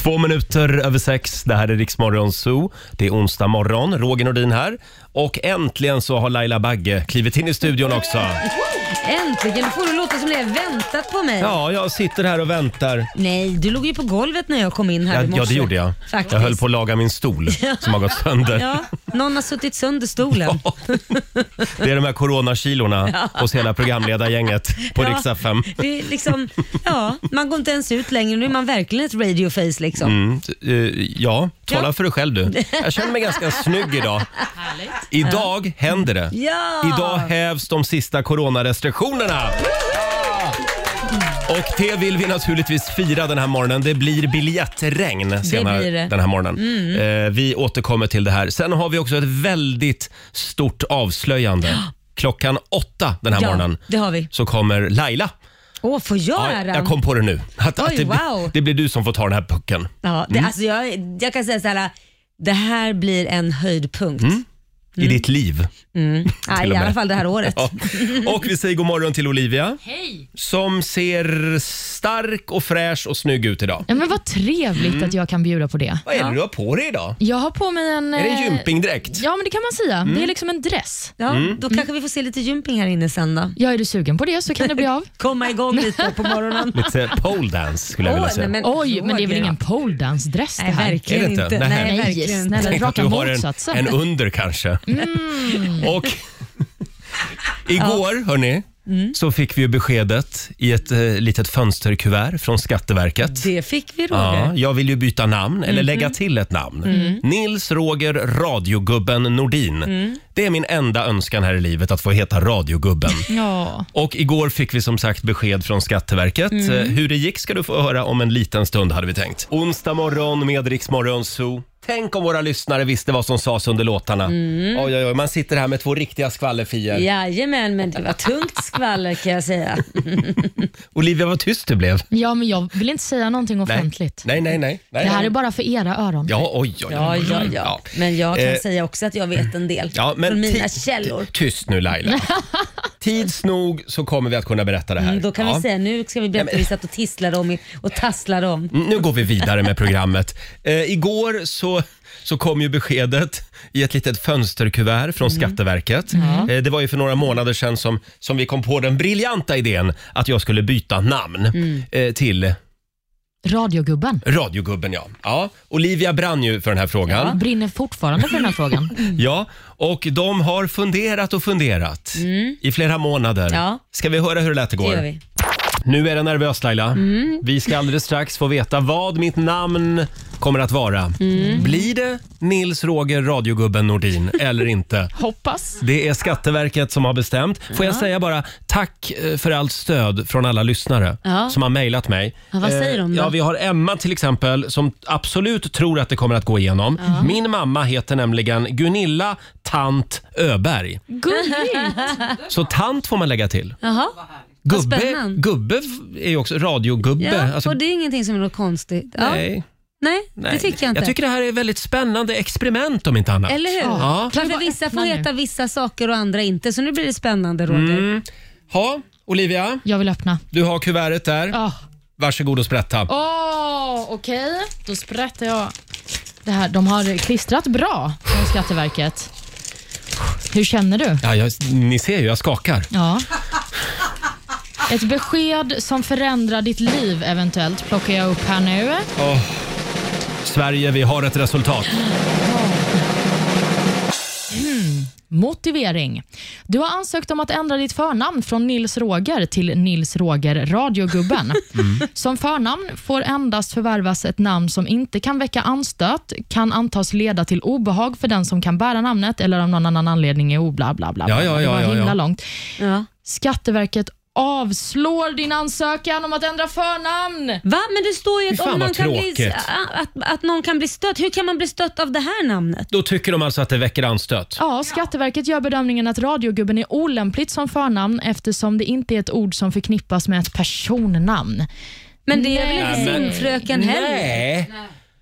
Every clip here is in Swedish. Två minuter över sex, det här är Riksmorgon Zoo. Det är onsdag morgon, Roger Nordin här. Och äntligen så har Laila Bagge klivit in i studion också. Äntligen! Du får det låta som det är väntat på mig. Ja, jag sitter här och väntar. Nej, du låg ju på golvet när jag kom in här Ja, i morse. ja det gjorde jag. Faktiskt. Jag höll på att laga min stol som har gått sönder. Ja, någon har suttit sönder stolen. Det är de här coronakilorna hos hela programledargänget på Ja. Rix FM. Det är liksom, ja, man går inte ens ut längre. Nu är man verkligen ett radioface liksom. Mm, eh, ja, tala Ja. för dig själv du. Jag känner mig ganska snygg idag. Idag händer det. Ja! Idag hävs de sista coronarestriktionerna. Och det vill vi naturligtvis fira den här morgonen. Det blir biljettregn senare blir det. Mm. den här morgonen. Eh, vi återkommer till det här. Sen har vi också ett väldigt stort avslöjande. Klockan åtta den här Ja, morgonen det har vi. så kommer Laila. Åh, får jag Ja, äran? jag kom på det nu. Att, Oj, att det, blir- wow. det blir du som får ta den här pucken. ja, Mm. det, alltså jag, jag kan säga så här, det här blir en höjdpunkt. I Mm. ditt liv. Ja, Mm, till I och med. alla fall det här året. Ja. Och vi säger god morgon till Olivia Hej! som ser stark och fräsch och snygg ut idag. Ja, men vad trevligt Mm. att jag kan bjuda på det. Vad är det du har på dig idag? Jag har på mig en... Är det en Mm. eh, gympingdräkt? Ja, men det kan man säga. Det är liksom en dress. Ja, Mm. Då kanske vi får se lite gymping här inne sen då. Ja, är du sugen på det så kan det bli av. Komma igång lite på morgonen. Lite eh, pole dance skulle jag vilja Åh, säga. nej, men Oj, men det är väl Roger. ingen poledance-dress det Nej, här? Är verkligen det inte? inte. Nej. Nej, Nej, verkligen inte. snälla. Tänk att du Raka har motsatsen. en, en under kanske. Och igår, hörni, så fick vi ju beskedet i ett eh, litet fönsterkuvert från Skatteverket. Det fick vi Roger. Ja, jag vill ju byta namn, eller lägga till ett namn. Nils Roger Radiogubben Nordin. Det är min enda önskan här i livet, att få heta Radiogubben. Ja. Och igår fick vi som sagt besked från Skatteverket. Mm. Eh, Hur det gick ska du få höra om en liten stund hade vi tänkt. Onsdag morgon med Rix Morgon Zoo. Tänk om våra lyssnare visste vad som sades under låtarna. Mm. Oj, oj, oj, man sitter här med två riktiga skvallerfier. Jajamän, men det var tungt skvaller kan jag säga. Olivia, vad tyst du blev. ja, men jag vill inte säga någonting offentligt. Nej, nej, nej. nej. Det här är bara för era öron. Ja, oj, oj, oj. Ja, ja, ja. Men jag kan Mm, Eh. säga också att jag vet en del Ja, men från mina ti- källor. Tyst nu Laila. Tids nog så kommer vi att kunna berätta det här. Mm, Då kan Ja. vi säga nu ska vi berätta vad vi satt och tisslade om i- och tasslade om. Nu går vi vidare med programmet. Eh, igår så, så kom ju beskedet i ett litet fönsterkuvert Mm. från Skatteverket. Eh, det var ju för några månader sedan som, som vi kom på den briljanta idén att jag skulle byta namn Mm. eh, till Radiogubben Radiogubben. Ja. ja, Olivia brann ju för den här frågan. brinner fortfarande för den här frågan. Ja. och de har funderat och funderat i flera månader. Mm. Ja. Ska vi höra hur det lät Det igår? gör vi. Nu är det nervöst Laila. Mm. Vi ska alldeles strax få veta vad mitt namn kommer att vara. Mm. Blir det Nils Roger radiogubben Nordin eller inte? Hoppas. Det är Skatteverket som har bestämt. Får jag säga bara tack eh, för allt stöd från alla lyssnare Ja. som har mejlat mig. Ja, vad säger Eh, de då? Ja, vi har Emma till exempel som absolut tror att det kommer att gå igenom. Min mamma heter nämligen Gunilla Tant Öberg. Gulligt. Så tant får man lägga till. Jaha. Gubbe, spännande. gubbe f- är ju också radiogubbe. Ja, Alltså, och det är ingenting som är något konstigt. Ja. Nej, Nej, det tycker jag inte. Jag tycker det här är ett väldigt spännande experiment om inte annat. Eller hur? Ja. Varför Vad vissa får öppnar nu? heta vissa saker och andra inte. Så nu blir det spännande Roger. Mm. Ha, Olivia, Jag vill öppna. du har kuvertet där. Åh, Varsågod och sprätta. Ah. Åh, okej. Då sprättar jag. Det här, de har klistrat bra från Skatteverket. Hur känner du? Ja, jag, ni ser ju, jag skakar. Ja. Ett besked som förändrar ditt liv eventuellt plockar jag upp här nu. Sverige, vi har ett resultat. Motivering. Du har ansökt om att ändra ditt förnamn från Nils Roger till Nils Roger Radiogubben. Mm. Som förnamn får endast förvärvas ett namn som inte kan väcka anstöt, kan antas leda till obehag för den som kan bära namnet eller av någon annan anledning är obla bla bla. Ja, bla. ja, Det ja, var ja, himla ja. långt. Ja. Skatteverket avslår din ansökan om att ändra förnamn. Va? Men det står ju Fy att, fan, om någon vad kan bli, tråkigt. att, att någon kan bli stött. Hur kan man bli stött av det här namnet? Då tycker de alltså att det väcker anstöt. Ja, Skatteverket gör bedömningen att radiogubben är olämpligt som förnamn eftersom det inte är ett ord som förknippas med ett personnamn. Men det är väl Nej. inte simfröken heller? Nej.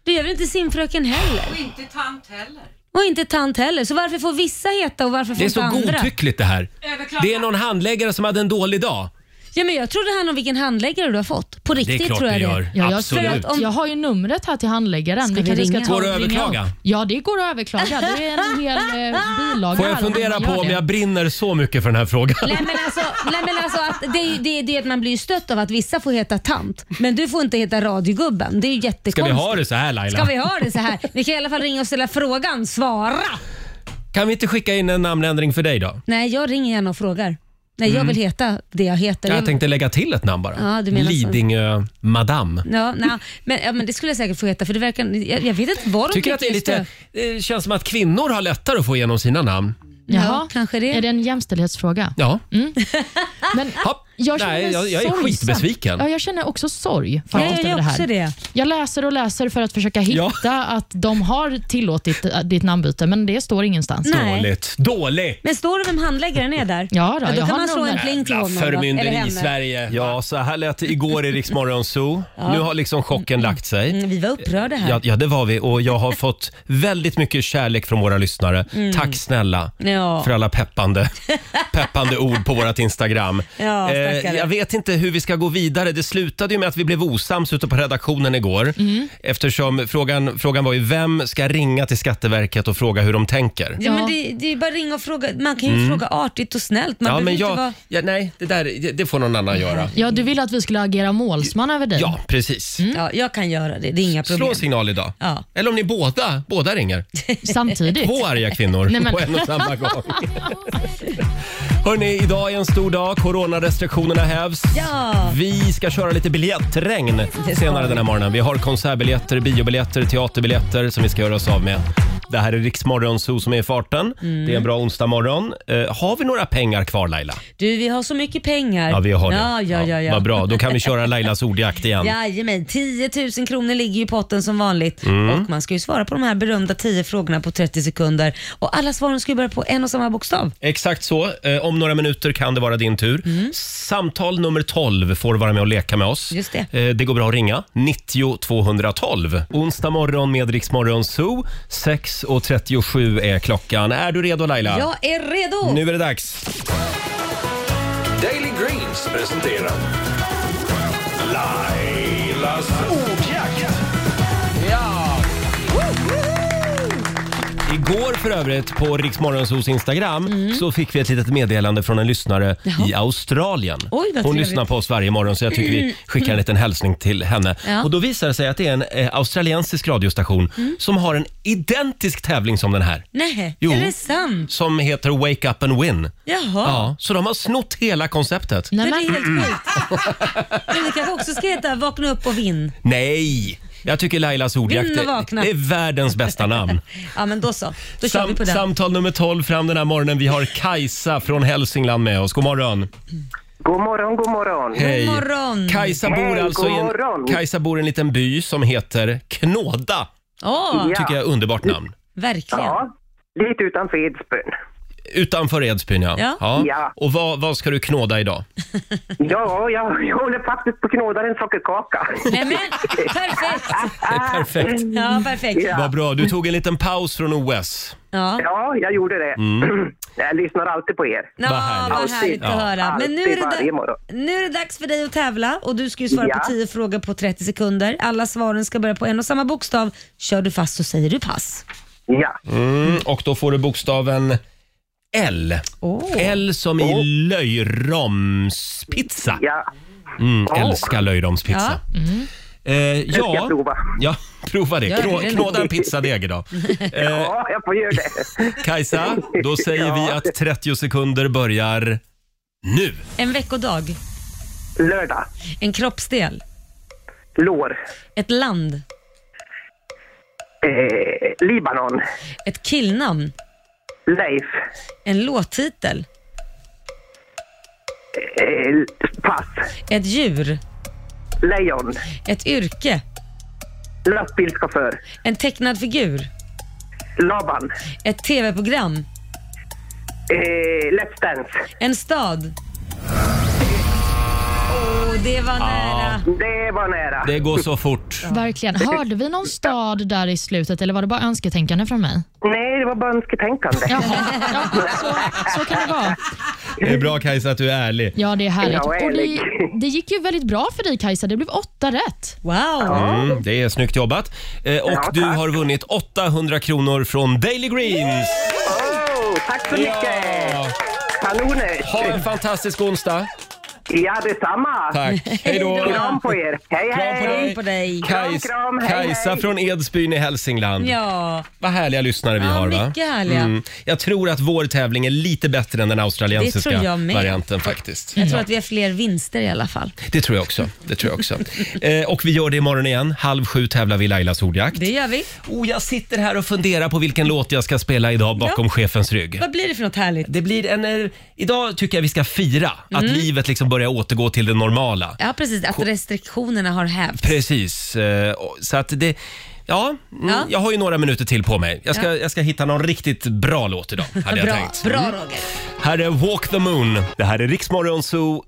Det är väl inte simfröken heller? Och inte tant heller. Och inte tant heller. Så varför får vissa heta och varför får Det är så inte andra? godtyckligt det här. Överklaga. Det är någon handläggare som hade en dålig dag. Ja, men jag trodde han om vilken handläggare du har fått. På Det riktigt är klart tror det jag gör. det. Ja, jag, Absolut. för att om- jag har ju numret här till handläggaren. Ska vi vi kanske ringa? Går det att och ringa överklaga? upp. Ja, det går att överklaga. Det är en hel eh, bilaga. Får jag här om fundera man på gör om det. jag brinner så mycket för den här frågan? Nej men alltså, nej, men alltså att det, är ju- det, är det att man blir ju stött av att vissa får heta tant. Men du får inte heta radiogubben. Det är ju jättekonstigt. Ska vi ha det så här Laila? Ska vi ha det så här? Ni kan i alla fall ringa och ställa frågan. Svara! Kan vi inte skicka in en namnändring för dig då? Nej, jag ringer gärna och frågar. Nej, Mm. jag vill heta det jag heter. Jag tänkte lägga till ett namn bara. Ja, du menar så. Lidingö madam. Ja, nej, men, ja, men det skulle jag säkert få heta för det verkar... Jag, jag vet inte vad de Tycker tycker att det är är lite, stö- det känns som att kvinnor har lättare att få igenom sina namn. Jaha. Ja, kanske det. Är det en jämställdhetsfråga? Ja. Men Hopp. jag känner Nej, jag, jag är sorgsamt. skitbesviken. Ja, jag känner också sorg Ja, faktiskt jag över gör det också här. det. Jag läser och läser för att försöka hitta att de har tillåtit eh, ditt namnbyte, men det står ingenstans. Nej. Dåligt. Dåligt! Men står det vem handläggaren är där? Ja, då, jag kan har man slå någon en där. pling till Jävla honom. då, eller förmynderi i henne. Sverige. Ja, så här lät det igår i Rix Morgon Zoo. Nu har liksom chocken lagt sig. Mm, Vi var upprörda här. Ja, ja, det var vi och jag har fått väldigt mycket kärlek från våra lyssnare. Mm. Tack snälla Ja. för alla peppande, peppande ord på vårt Instagram. Eh, Ja, stackare. jag vet inte hur vi ska gå vidare. Det slutade ju med att vi blev osams ute på redaktionen igår. Mm. Eftersom frågan, frågan var ju vem ska ringa till Skatteverket och fråga hur de tänker? Ja, men det, det är bara att ringa och fråga. Man kan ju fråga artigt och snällt. Man Mm. Ja, men behöver jag, inte vara... ja, nej, det där det- det får någon annan göra. Ja, du ville att vi skulle agera målsman över dig. Ja, precis. Ja, jag kan göra det. Det är inga Mm. Slå problem. en signal idag. Mm. Ja. Eller om ni båda, båda ringer. Samtidigt. Två arga kvinnor Nej, men- på en och samma gång. Hörni, idag är en stor dag. Coronarestriktionerna hävs. Ja. Vi ska köra lite biljettregn senare den här morgonen. Vi har konsertbiljetter, biobiljetter, teaterbiljetter som vi ska göra oss av med. Det här är Riksmorgon Zoo som är i farten. Mm. Det är en bra onsdag morgon. Eh, har vi några pengar kvar Laila? Du, vi har så mycket pengar. Ja, vi har det. Ja, ja, ja. ja. Vad bra, då kan vi köra Lailas ordjakt igen. Jajamän, 10 000 kronor ligger ju i potten som vanligt. Mm. Och man ska ju svara på de här berömda 10 frågorna på 30 sekunder. Och alla svaren ska ju börja på en och samma bokstav. Exakt så. Eh, Om några minuter kan det vara din tur. Mm. Samtal nummer 12 får vara med och leka med oss. Just det. Eh, det går bra att ringa. 90 212. Onsdag morgon med Rix Morgon Zoo. 6.37 är klockan. Är du redo Laila? Jag är redo! Nu är det dags. Daily Greens presenterar Lailas ordjakt. Igår för övrigt på Rix Morgon Zoos Instagram så fick vi ett litet meddelande från en lyssnare i Australien. vad Hon trevligt. lyssnar på oss varje morgon så jag tycker vi skickar en liten hälsning till henne. Ja. Mm. Och då visar det sig att det är en eh, australiensisk radiostation som har en identisk tävling som den här. Nej, Jo. är det sant? Som heter Wake Up and Win. Jaha. Ja, så de har snott hela konceptet. Men Nej, det är men, helt sjukt. Men det kanske också ska heta Vakna upp och vinn. Nej! Jag tycker Lailas ordjakt Vinn och är, vakna. är världens bästa namn. Ja men då så, då kör vi på den. Samtal nummer 12 fram den här morgonen. Vi har Kajsa från Hälsingland med oss. God morgon! God morgon, god morgon. Hej. God morgon. Kajsa bor Hej, alltså god i en, morgon. Kajsa bor i en liten by som heter Knåda. Åh, Ja. Tycker jag är underbart namn. verkligen. Ja, lite utanför Edsbyn. Utanför Edsbyn ja. Ja. Ja. Och vad, vad ska du knåda idag? Ja, jag, jag håller faktiskt på att knåda en sockerkaka. Ah. Nej men, perfekt! Det är perfekt. Ja, perfekt. Ja. Vad bra. Du tog en liten paus från OS. Ja. Ja, jag gjorde det. Mm. Jag lyssnar alltid på er. Ja, Vad härligt. vad härligt att Ja. höra. Men nu är, Alltid, varje det morgon. da- nu är det dags för dig att tävla och du ska ju svara Ja. på 10 frågor på 30 sekunder. Alla svaren ska börja på en och samma bokstav. Kör du fast så säger du pass. Ja, Mm, och då får du bokstaven L. L som i löjromspizza. ja. Mm, Åh. älskar löjromspizza. Mm. Eh, Nu ska ja. jag prova. ja, prova det. Gör Knå, det. knåda en pizzadeg idag. Eh, Ja, jag får göra det. Kajsa, då säger Ja. vi att 30 sekunder börjar nu. En veckodag, Lördag. en kroppsdel, Lår. ett land, Eh, Libanon. ett killnamn, Leif. en låttitel, Eh, pass. ett djur, Lejon. ett yrke, Lastbilschaufför. en tecknad figur, Laban. ett tv-program, Eh, Let's Dance. en stad. Åh, det var nära. Det var nära. Det går så fort. verkligen. Hörde vi någon stad där i slutet eller var det bara önsketänkande från mig? Nej, det var bara önsketänkande. Jaha, ja, så, så kan det vara. Det är bra Kajsa att du är ärlig. Ja, det är härligt. Ja, Och det, ärligt. det gick ju väldigt bra för dig Kajsa. Det blev åtta rätt. Wow! Mm, det är snyggt jobbat. Eh, och Ja, du tack. har vunnit 800 kronor från Daily Greens. Åh, tack så mycket! Ja. Kanoner! Ha en fantastisk onsdag. Ja, detsamma! Tack. Hej då. Kram på er! Hej, Kram på hej! dig. Kram på dig. Kajs, Kram, kram, hej, Kajsa hej. från Edsbyn i Hälsingland. Ja, Vad härliga lyssnare vi Ja, har va? Mm. mycket härliga. Jag tror att vår tävling är lite bättre än den Det australiensiska tror jag med. varianten faktiskt. jag tror att vi har fler vinster i alla fall. Det tror jag också. Det tror jag också. eh, och vi gör det imorgon igen. Halv sju tävlar vi i Lailas ordjakt. Det gör vi. Oh, jag sitter här och funderar på vilken låt jag ska spela idag bakom chefens rygg. Vad blir det för något härligt? Det blir en... eh, Idag tycker jag vi ska fira Mm. att livet liksom börjar återgå till det normala. Ja, precis. Att restriktionerna har hävts. Precis. eh, och- Så att det... Ja, mm, Ja. jag har ju några minuter till på mig. Jag ska, Ja. jag ska hitta någon riktigt bra låt idag, hade jag Bra, tänkt. Mm. bra Roger. Här är Walk the Moon. Det här är Riksmorgon Zoo.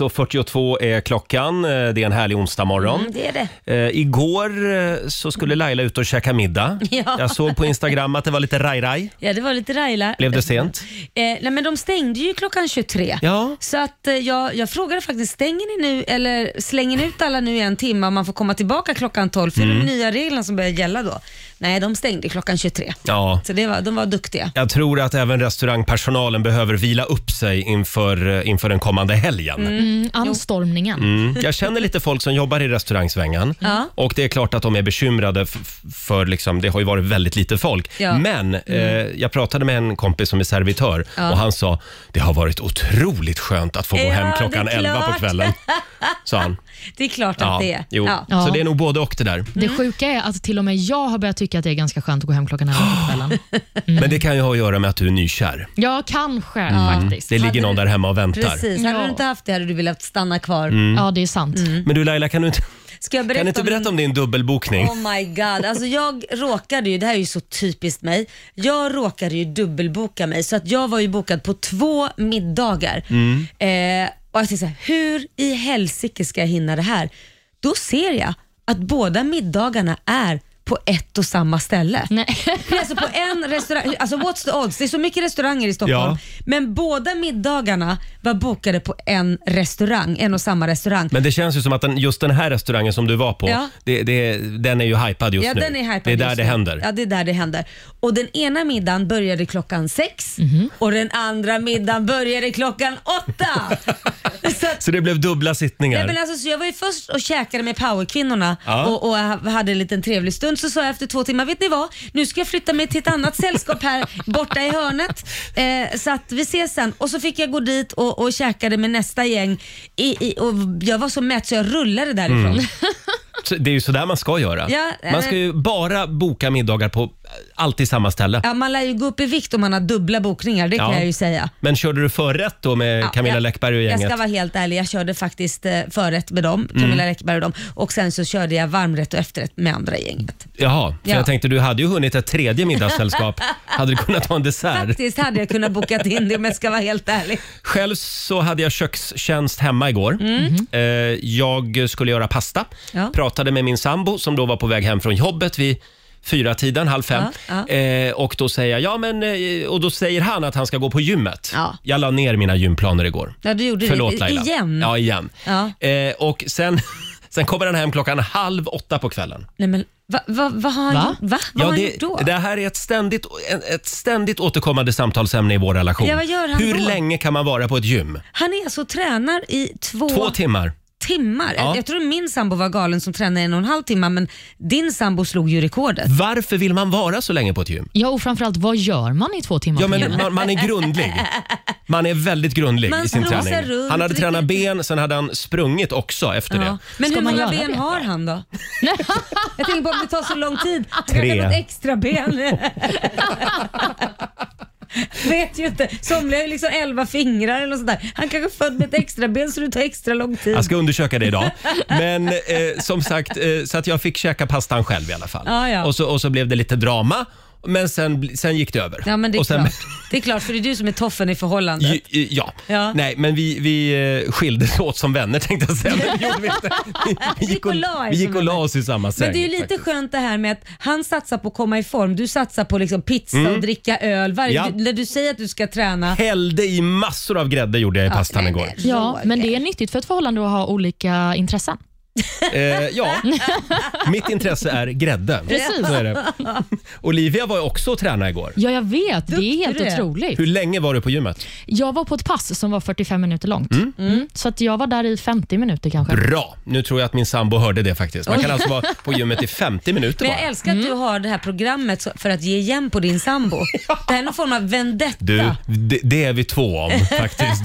6.42 är klockan. Eh, Det är en härlig onsdag morgon. Mm, det är det. Eh, igår eh, så skulle Laila ut och käka middag. Ja. Jag såg på Instagram att det var lite raj-raj. Ja, det var lite Raila. Blev det sent? Eh, nej, men de stängde ju klockan 23. Ja. Så att, eh, jag, jag frågade faktiskt, stänger ni nu eller slänger ni ut alla nu i en timme och man får komma tillbaka klockan 12? För det är de nya reglerna som börjar gälla då. Nej, de stängde klockan 23. Ja. Så det var, de var duktiga. Jag tror att även restaurangpersonalen behöver vila upp sig inför, eh, inför den kommande helgen. Mm, Anstormningen. Mm. Jag känner lite folk som jobbar i restaurangsvängen Ja. och det är klart att de är bekymrade f- f- för liksom, det har ju varit väldigt lite folk. Ja. Mm. Men eh, jag pratade med en kompis som är servitör och han sa det har varit otroligt skönt att få gå Ja, hem det är klockan 11 på klart." kvällen. Sa han. Det är klart att det är. Jo. Ja. Så Ja. det är nog både och det där. Det sjuka är att till och med jag har börjat tycka att det är ganska skönt att gå hem klockan 11 på kvällen. Men det kan ju ha att göra med att du är nykär. Ja, kanske faktiskt. Mm. Det ligger någon där hemma och väntar. Precis, hade Ja. Mm. du inte haft det hade du velat stanna kvar. Ja, Mm. det är sant. Men du Laila, kan du inte, Ska jag berätta kan du inte om berätta om din dubbelbokning? Oh my god, alltså jag råkade ju, det här är ju så typiskt mig, jag råkade ju dubbelboka mig så att jag var ju bokad på två middagar. Eh, och jag tänkte så här, hur i helsike ska jag hinna det här? Då ser jag att båda middagarna är på ett och samma ställe. Nej. Alltså på en restaurang, alltså what's the odds? Det är så mycket restauranger i Stockholm. Ja. Men båda middagarna var bokade på en restaurang, en och samma restaurang. Men det känns ju som att den, just den här restaurangen som du var på, Ja. det, det, den är ju hypad just ja, nu. Den är hypad det är där just det nu. händer. Ja, det är där det händer. Och den ena middagen började klockan sex och den andra middagen började klockan åtta. så, att- Så det blev dubbla sittningar. Nej, men alltså, så jag var ju först och käkade med powerkvinnorna Ja. och, och hade en liten trevlig stund. Så sa jag efter två timmar, vet ni vad? Nu ska jag flytta mig till ett annat sällskap här borta i hörnet. Eh, så att vi ses sen. Och så fick jag gå dit och, och käkade med nästa gäng. I, i, och jag var så mätt så jag rullade därifrån. Mm. Så Det är ju sådär man ska göra. Ja, man ska eh. ju bara boka middagar på alltid samma ställe. Ja, man lär ju gå upp i vikt om man har dubbla bokningar, det kan Ja. jag ju säga. Men körde du förrätt då med Ja, Camilla jag- Läckberg och Jag gänget? ska vara helt ärlig, jag körde faktiskt eh, förrätt med dem, Camilla Läckberg och dem. Och sen så körde jag varmrätt och efterrätt med andra gänget. Jaha, för Ja. jag tänkte du hade ju hunnit ett tredje middagssällskap. hade du kunnat ha en dessert? Faktiskt hade jag kunnat boka in det om jag ska vara helt ärlig. Själv så hade jag kökstjänst hemma igår. Eh, jag skulle göra pasta. Mm. Mm-hmm. Ja. Pratade med min sambo som då var på väg hem från jobbet vid fyra tiden, halv fem. Ja, Eh, och, då säger jag, ja, men, eh, och då säger han att han ska gå på gymmet. Ja. Jag la ner mina gymplaner igår. Ja, du gjorde Förlåt det. I- Laila. Igen? Ja, igen. Ja. Eh, och sen, sen kommer han hem klockan halv åtta på kvällen. Nej, men, va, va, vad har han, Va? gjort- va? Vad har han det, gjort då? det här är ett ständigt, ett ständigt återkommande samtalsämne i vår relation. Ja, vad gör han Hur då? länge kan man vara på ett gym? Han är alltså och tränar i två, Två timmar. timmar. Ja. Jag tror min sambo var galen som tränade en och en halv timme, men din sambo slog ju rekordet. Varför vill man vara så länge på ett gym? Ja, och framförallt, vad gör man i två timmar Ja, på men gymmet? man, man är grundlig. Man är väldigt grundlig Man i sin strosar träning. runt. Han hade tränat ben, sen hade han sprungit också efter Ja. det. Men Ska hur man många göra ben det? har han då? Jag tänker på om det tar så lång tid. Tre. Tre. Något extra ben. Vet ju inte. Somliga har ju liksom elva fingrar eller något sånt där. Han kanske är född med ett extra ben så det tar extra lång tid. Jag ska undersöka det idag. Men eh, som sagt, eh, så att jag fick käka pastan själv i alla fall. Ja, ja. Och, så, och så blev det lite drama. men sen, bli- sen gick det över. Ja, men det är, och sen, klart. det är klart, för det är du som är toffen i förhållandet. Ju- ju- Ja. Ja. Nej, men vi, vi eh, skildes åt som vänner tänkte jag säga. Men det gjorde vi inte. Vi, vi, gick och la er vi som gick och la oss i samma säng. Men det är ju lite faktiskt. skönt det här med att han satsar på att komma i form. Du satsar på liksom pizza och dricka öl. Varje, Mm. Ja. du, när du säger att du ska träna. Hällde i massor av grädde gjorde jag i pastan nej, igår. nej. Ja, men det är nyttigt för ett förhållande att ha olika intressen. Eh, ja, mitt intresse är grädde. Precis. Så är det. Olivia var ju också och tränade igår. Ja, jag vet. Det är helt Duktig du är. otroligt. Hur länge var du på gymmet? Jag var på ett pass som var 45 minuter långt. Mm. Så att jag var där i 50 minuter kanske. Bra! Nu tror jag att min sambo hörde det faktiskt. Man kan alltså vara på gymmet i 50 minuter Men jag bara. älskar att Mm. du har det här programmet så- för att ge igen på din sambo. Det här är någon form av vendetta. Du, det, det är vi två om faktiskt.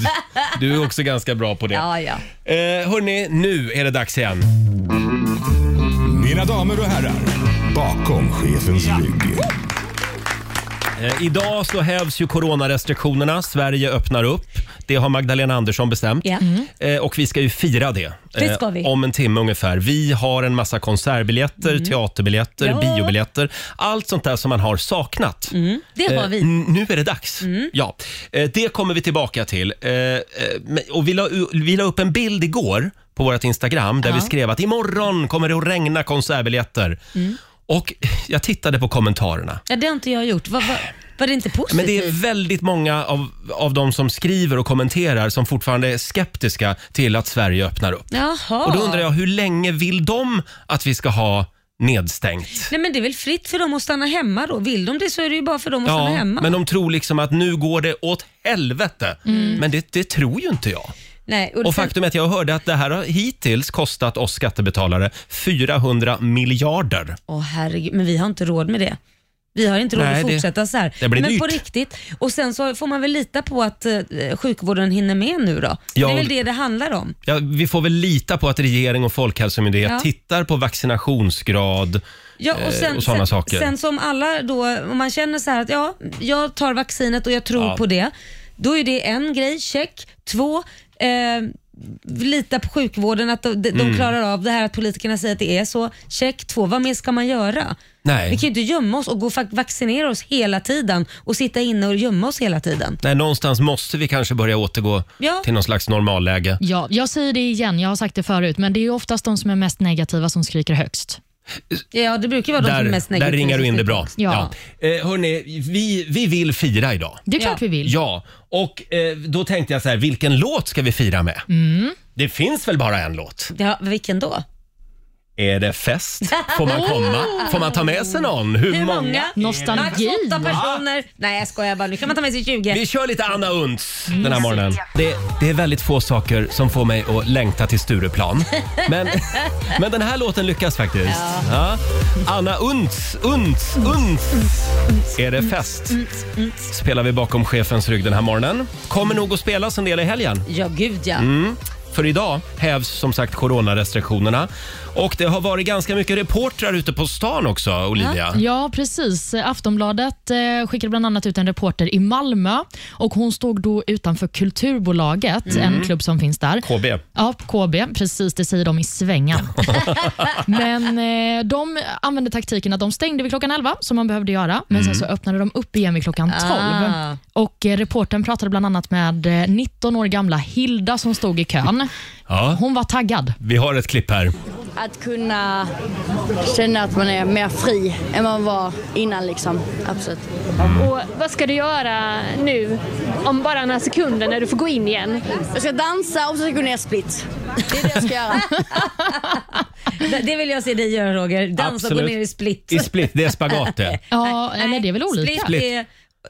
Du är också ganska bra på det. Ja, ja. Eh, hörni, nu är det dags igen. Mina damer och herrar, bakom chefens rygg. Eh, Idag så hävs ju coronarestriktionerna. Sverige öppnar upp. Det har Magdalena Andersson bestämt. Ja. Eh, Och vi ska ju fira det. Det ska eh, vi. Om en timme ungefär. Vi har en massa konsertbiljetter, teaterbiljetter, Mm. Ja. biobiljetter. Allt sånt där som man har saknat. Mm. Det har Eh, vi. Mm. n- Nu är det dags. Ja. Eh, Det kommer vi tillbaka till. Eh, eh, men- Och vi, la, u- vi la upp en bild igår på vårt Instagram där vi skrev att imorgon kommer det att regna konsertbiljetter. Mm. Och jag tittade på kommentarerna. Ja, det har inte jag gjort. Var, var, var det inte positivt? Men det är väldigt många av, av de som skriver och kommenterar som fortfarande är skeptiska till att Sverige öppnar upp. Jaha. Och då undrar jag, hur länge vill de att vi ska ha nedstängt? Nej, men det är väl fritt för dem att stanna hemma då. Vill de det så är det ju bara för dem att stanna Ja, hemma. men de tror liksom att nu går det åt helvete. Mm. Men det, det tror ju inte jag. Nej, Och faktum är att jag hörde att det här har hittills kostat oss skattebetalare 400 miljarder. Åh herregud, men vi har inte råd med det. Vi har inte råd Nej, att det- fortsätta så här. det blir men på dyrt. riktigt. Och sen så får man väl lita på att eh, sjukvården hinner med nu då. Ja, det är och- väl det det handlar om. Ja, vi får väl lita på att regering och folkhälsomyndighet Ja. tittar på vaccinationsgrad Ja, eh, och sen, och sådana sen, saker. sen som alla då, om man känner så här att ja, jag tar vaccinet och jag tror Ja. på det. Då är det en grej, check. Två, eh, lita på sjukvården att de, de Mm. klarar av det här att politikerna säger att det är så. Check. Två, vad mer ska man göra? Nej. Vi kan ju inte gömma oss och gå och fac- vaccinera oss hela tiden och sitta inne och gömma oss hela tiden. Nej, någonstans måste vi kanske börja återgå Ja. till någon slags normalläge. Ja, jag säger det igen, jag har sagt det förut, men det är oftast de som är mest negativa som skriker högst. Ja, det brukar vara de som är Där, mest negativa. där ringar du in det bra. Ja. Eh, hörni, vi, vi vill fira idag. Det är Ja. klart vi vill. Ja, och eh, då tänkte jag så här, vilken låt ska vi fira med? Mm. Det finns väl bara en låt? Ja, vilken då? Är det fest? Får man komma? Får man ta med sig någon? Hur, Hur många? många? Max Nostalgi. åtta personer. Nej, jag skojar bara. Nu kan man ta med sig 20. Vi kör lite Anna Unts den här morgonen. Det, det är väldigt få saker som får mig att längta till Stureplan. Men, men den här låten lyckas faktiskt. Ja. Anna Unts, Unts, Unts. Är det fest? Spelar vi bakom chefens rygg den här morgonen. Kommer nog att spelas en del i helgen. Ja, gud ja. För idag hävs som sagt coronarestriktionerna. Och det har varit ganska mycket reportrar ute på stan också, Olivia. Ja, precis. Aftonbladet eh, skickade bland annat ut en reporter i Malmö och hon stod då utanför Kulturbolaget, en klubb som finns där. KB. Ja, KB. Precis, det säger de i svängen. men eh, de använde taktiken att de stängde vid klockan 11, som man behövde göra, men sen så öppnade de upp igen vid klockan 12. Ah. Och eh, reportern pratade bland annat med eh, 19 år gamla Hilda som stod i kön. Ja. Hon var taggad. Vi har ett klipp här. Att kunna känna att man är mer fri än man var innan liksom. Absolut. Och vad ska du göra nu om bara några sekunder när du får gå in igen? Jag ska dansa och så ska jag gå ner split. Det är det jag ska göra. Det- Det vill jag se dig göra Roger. Dansa och gå Absolut. ner i split. I split, det är spagat det. Ja, eller Nej, det är väl olika? Split är,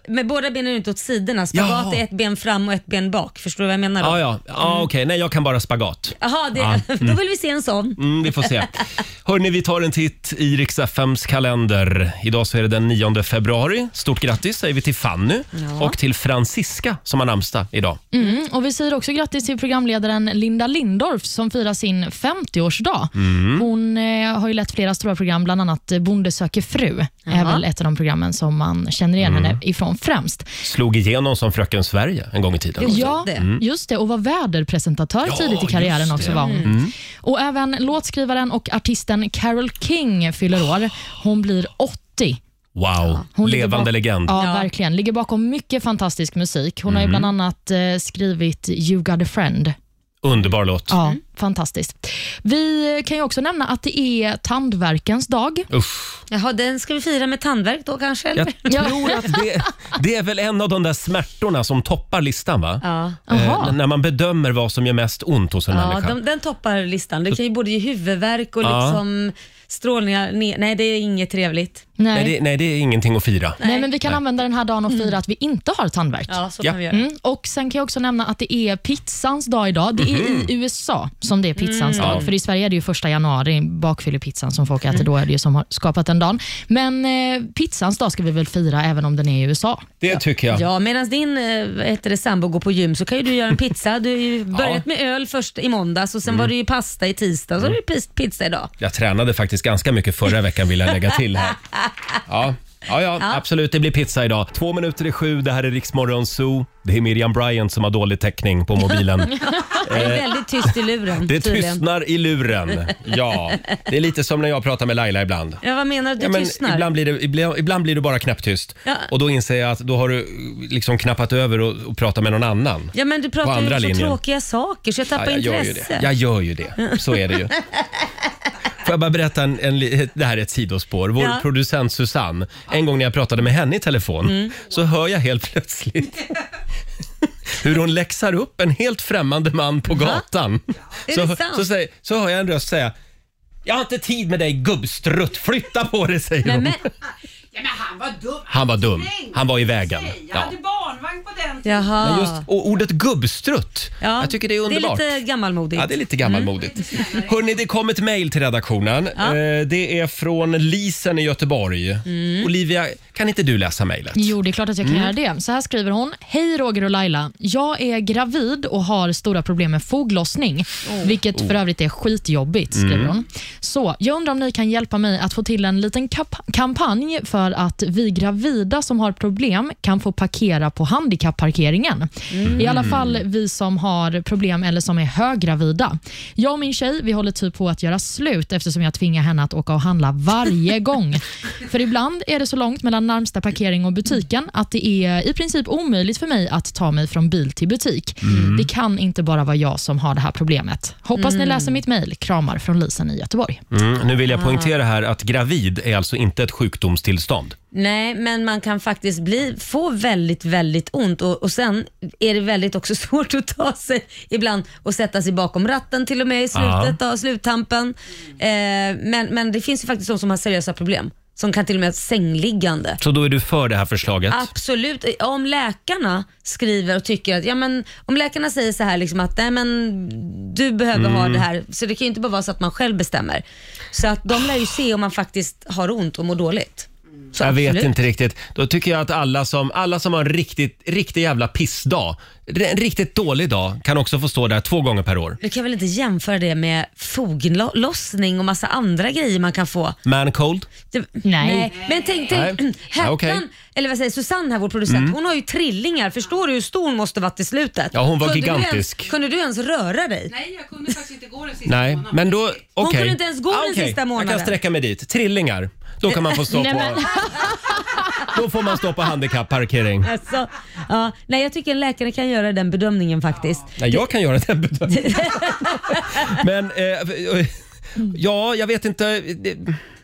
med båda benen ut åt sidorna. Spagat Jaha. är ett ben fram och ett ben bak. Förstår du vad jag menar? då? Ja, ja. ja Mm. okej. Nej, jag kan bara spagat. Jaha, det, Ja, då vill vi se en sån. Mm, vi får se. Hörni, vi tar en titt i riks FMs kalender. Idag så är det den 9 februari. Stort grattis säger vi till Fanny och till Francisca som har namnsdag idag. Mm, och Vi säger också grattis till programledaren Linda Lindorff som firar sin 50-årsdag. Hon eh, har ju lett flera stora program, bland annat eh, Bonde söker fru. är väl ett av de programmen som man känner igen henne ifrån främst. Slog igenom som Fröken Sverige en gång i tiden. Jo. Ja, det. just det. Och var väderpresentatör Ja, tidigt i just karriären det. också. Var hon. Och Även låtskrivaren och artisten Carole King fyller år. Hon blir 80. Wow, Hon ligger levande bak- legend. Ja, Ja. verkligen. Ligger bakom mycket fantastisk musik. Hon har ju bland annat eh, skrivit You got a friend. Underbar låt. Ja, fantastiskt. Vi kan ju också nämna att det är tandverkens dag. Usch. Jaha, den ska vi fira med tandvärk då kanske? Eller? Jag tror att det, det är väl en av de där smärtorna som toppar listan va? Ja. Jaha. Eh, när man bedömer vad som gör mest ont hos en Ja, människa. de, den toppar listan. Det kan ju både ge huvudvärk och Ja. liksom strålningar ner. Nej, det är inget trevligt. Nej. Nej, det, nej, det är ingenting att fira. Nej, Mm. men vi kan använda den här dagen och fira att vi inte har tandvärk. Ja, så Ja. kan vi göra. Mm. Och Sen kan jag också nämna att det är pizzans dag idag. Det är i USA som det är pizzans dag. För I Sverige är det ju första januari, bakfyllepizzan som folk äter. Då är det ju som har skapat den dagen. Men eh, pizzans dag ska vi väl fira även om den är i USA. Det tycker jag. Ja, medan din eh, vad heter det, sambo går på gym så kan ju du göra en pizza. Du har ju börjat med öl först i måndags och sen Mm. var det ju pasta i tisdag och så är det pis- pizza idag. Jag tränade faktiskt ganska mycket förra veckan vill jag lägga till här. Ja. Ja, ja, absolut. Det blir pizza idag. Två minuter i sju, det här är Riksmorgon Zoo. Det är Miriam Bryant som har dålig täckning på mobilen. Det är väldigt tyst i luren Eh, Det tydligen. tystnar i luren. Ja, det är lite som när jag pratar med Laila ibland. Ja, vad menar du? Det Ja, men tystnar? ibland, blir det, ibland, ibland blir det bara knäpptyst. Ja. Och då inser jag att då har du liksom knappat över och, och pratat med någon annan. Ja, men du På pratar ju andra om så linjen. tråkiga saker så jag tappar Ja, jag gör ju intresse. det. Jag gör ju det. Så är det ju. Får jag bara berätta en, en, li- det här är ett sidospår. Vår Ja. producent Susanne, en gång när jag pratade med henne i telefon Mm. så hör jag helt plötsligt hur hon läxar upp en helt främmande man på gatan. Är Så, det sant? så, säger, så hör jag en röst säga jag har inte tid med dig gubbstrutt, flytta på dig säger Nej, hon. men, Ja, men han var dum. Han var dum, Släng. han var i vägen. Jag Ja. hade barnvagn på den tiden. jaha. Just, och ordet gubbstrutt, Ja, jag tycker det är underbart. Det är lite gammalmodigt. Ja, det är lite gammalmodigt. Hörni, det kom ett mejl till redaktionen. Eh, Det är från Lisen i Göteborg. Olivia, kan inte du läsa mejlet? Jo, det är klart att jag kan göra det. Så här skriver hon. Hej Roger och Laila. Jag är gravid och har stora problem med foglossning, vilket för övrigt är skitjobbigt, skriver hon. Så jag undrar om ni kan hjälpa mig att få till en liten kap- kampanj för att vi gravida som har problem kan få parkera på handikappparkeringen. I alla fall vi som har problem eller som är höggravida. Jag och min tjej vi håller typ på att göra slut eftersom jag tvingar henne att åka och handla varje gång. För ibland är det så långt mellan närmsta parkering och butiken att det är i princip omöjligt för mig att ta mig från bil till butik. Mm. Det kan inte bara vara jag som har det här problemet. Hoppas Mm. ni läser mitt mejl. Kramar från Lisen i Göteborg. Mm, nu vill jag poängtera här att gravid är alltså inte ett sjukdomstillstånd. Nej, men man kan faktiskt bli, få väldigt, väldigt ont och, och sen är det väldigt också svårt att ta sig ibland och sätta sig bakom ratten till och med i slutet av sluttampen. Eh, men, men det finns ju faktiskt de som har seriösa problem, som kan till och med ha sängliggande. Så då är du för det här förslaget? Absolut. Om läkarna skriver och tycker att, ja men om läkarna säger så här liksom att nej men du behöver ha Mm. det här, så det kan ju inte bara vara så att man själv bestämmer. Så att de lär ju se om man faktiskt har ont och mår dåligt. Så Jag vet absolut. inte riktigt. Då tycker jag att alla som, alla som har en riktigt, riktig jävla pissdag, en riktigt dålig dag, kan också få stå där två gånger per år. Du kan väl inte jämföra det med foglossning och massa andra grejer man kan få? Man cold? Det- Nej. Men tänk dig, Nej. Ja, Hettan, okej. Mm. eller vad säger Susanne här, vår producent, hon har ju trillingar. Förstår du hur stor hon måste vara till slutet? Ja, hon var kunde Du gigantisk. ens, kunde du ens röra dig? Nej, jag kunde faktiskt inte gå den sista Nej, månaden. men då... Okej. Ah, kunde inte ens gå den Okej, sista Jag månaden. kan sträcka mig dit. Trillingar. Då kan man få stå Nej, på... men- Då får man stå på handikappparkering. Alltså, ja, nej, jag tycker en läkare kan göra den bedömningen faktiskt. Nej, jag kan göra den bedömningen. Men... Eh, Ja, jag vet inte. Det,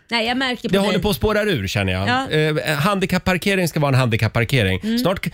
Nej, jag märker på det dig. håller på att spåra ur känner jag. Ja. Mm. Eh, handikappparkering ska vara en handikappparkering. Snart,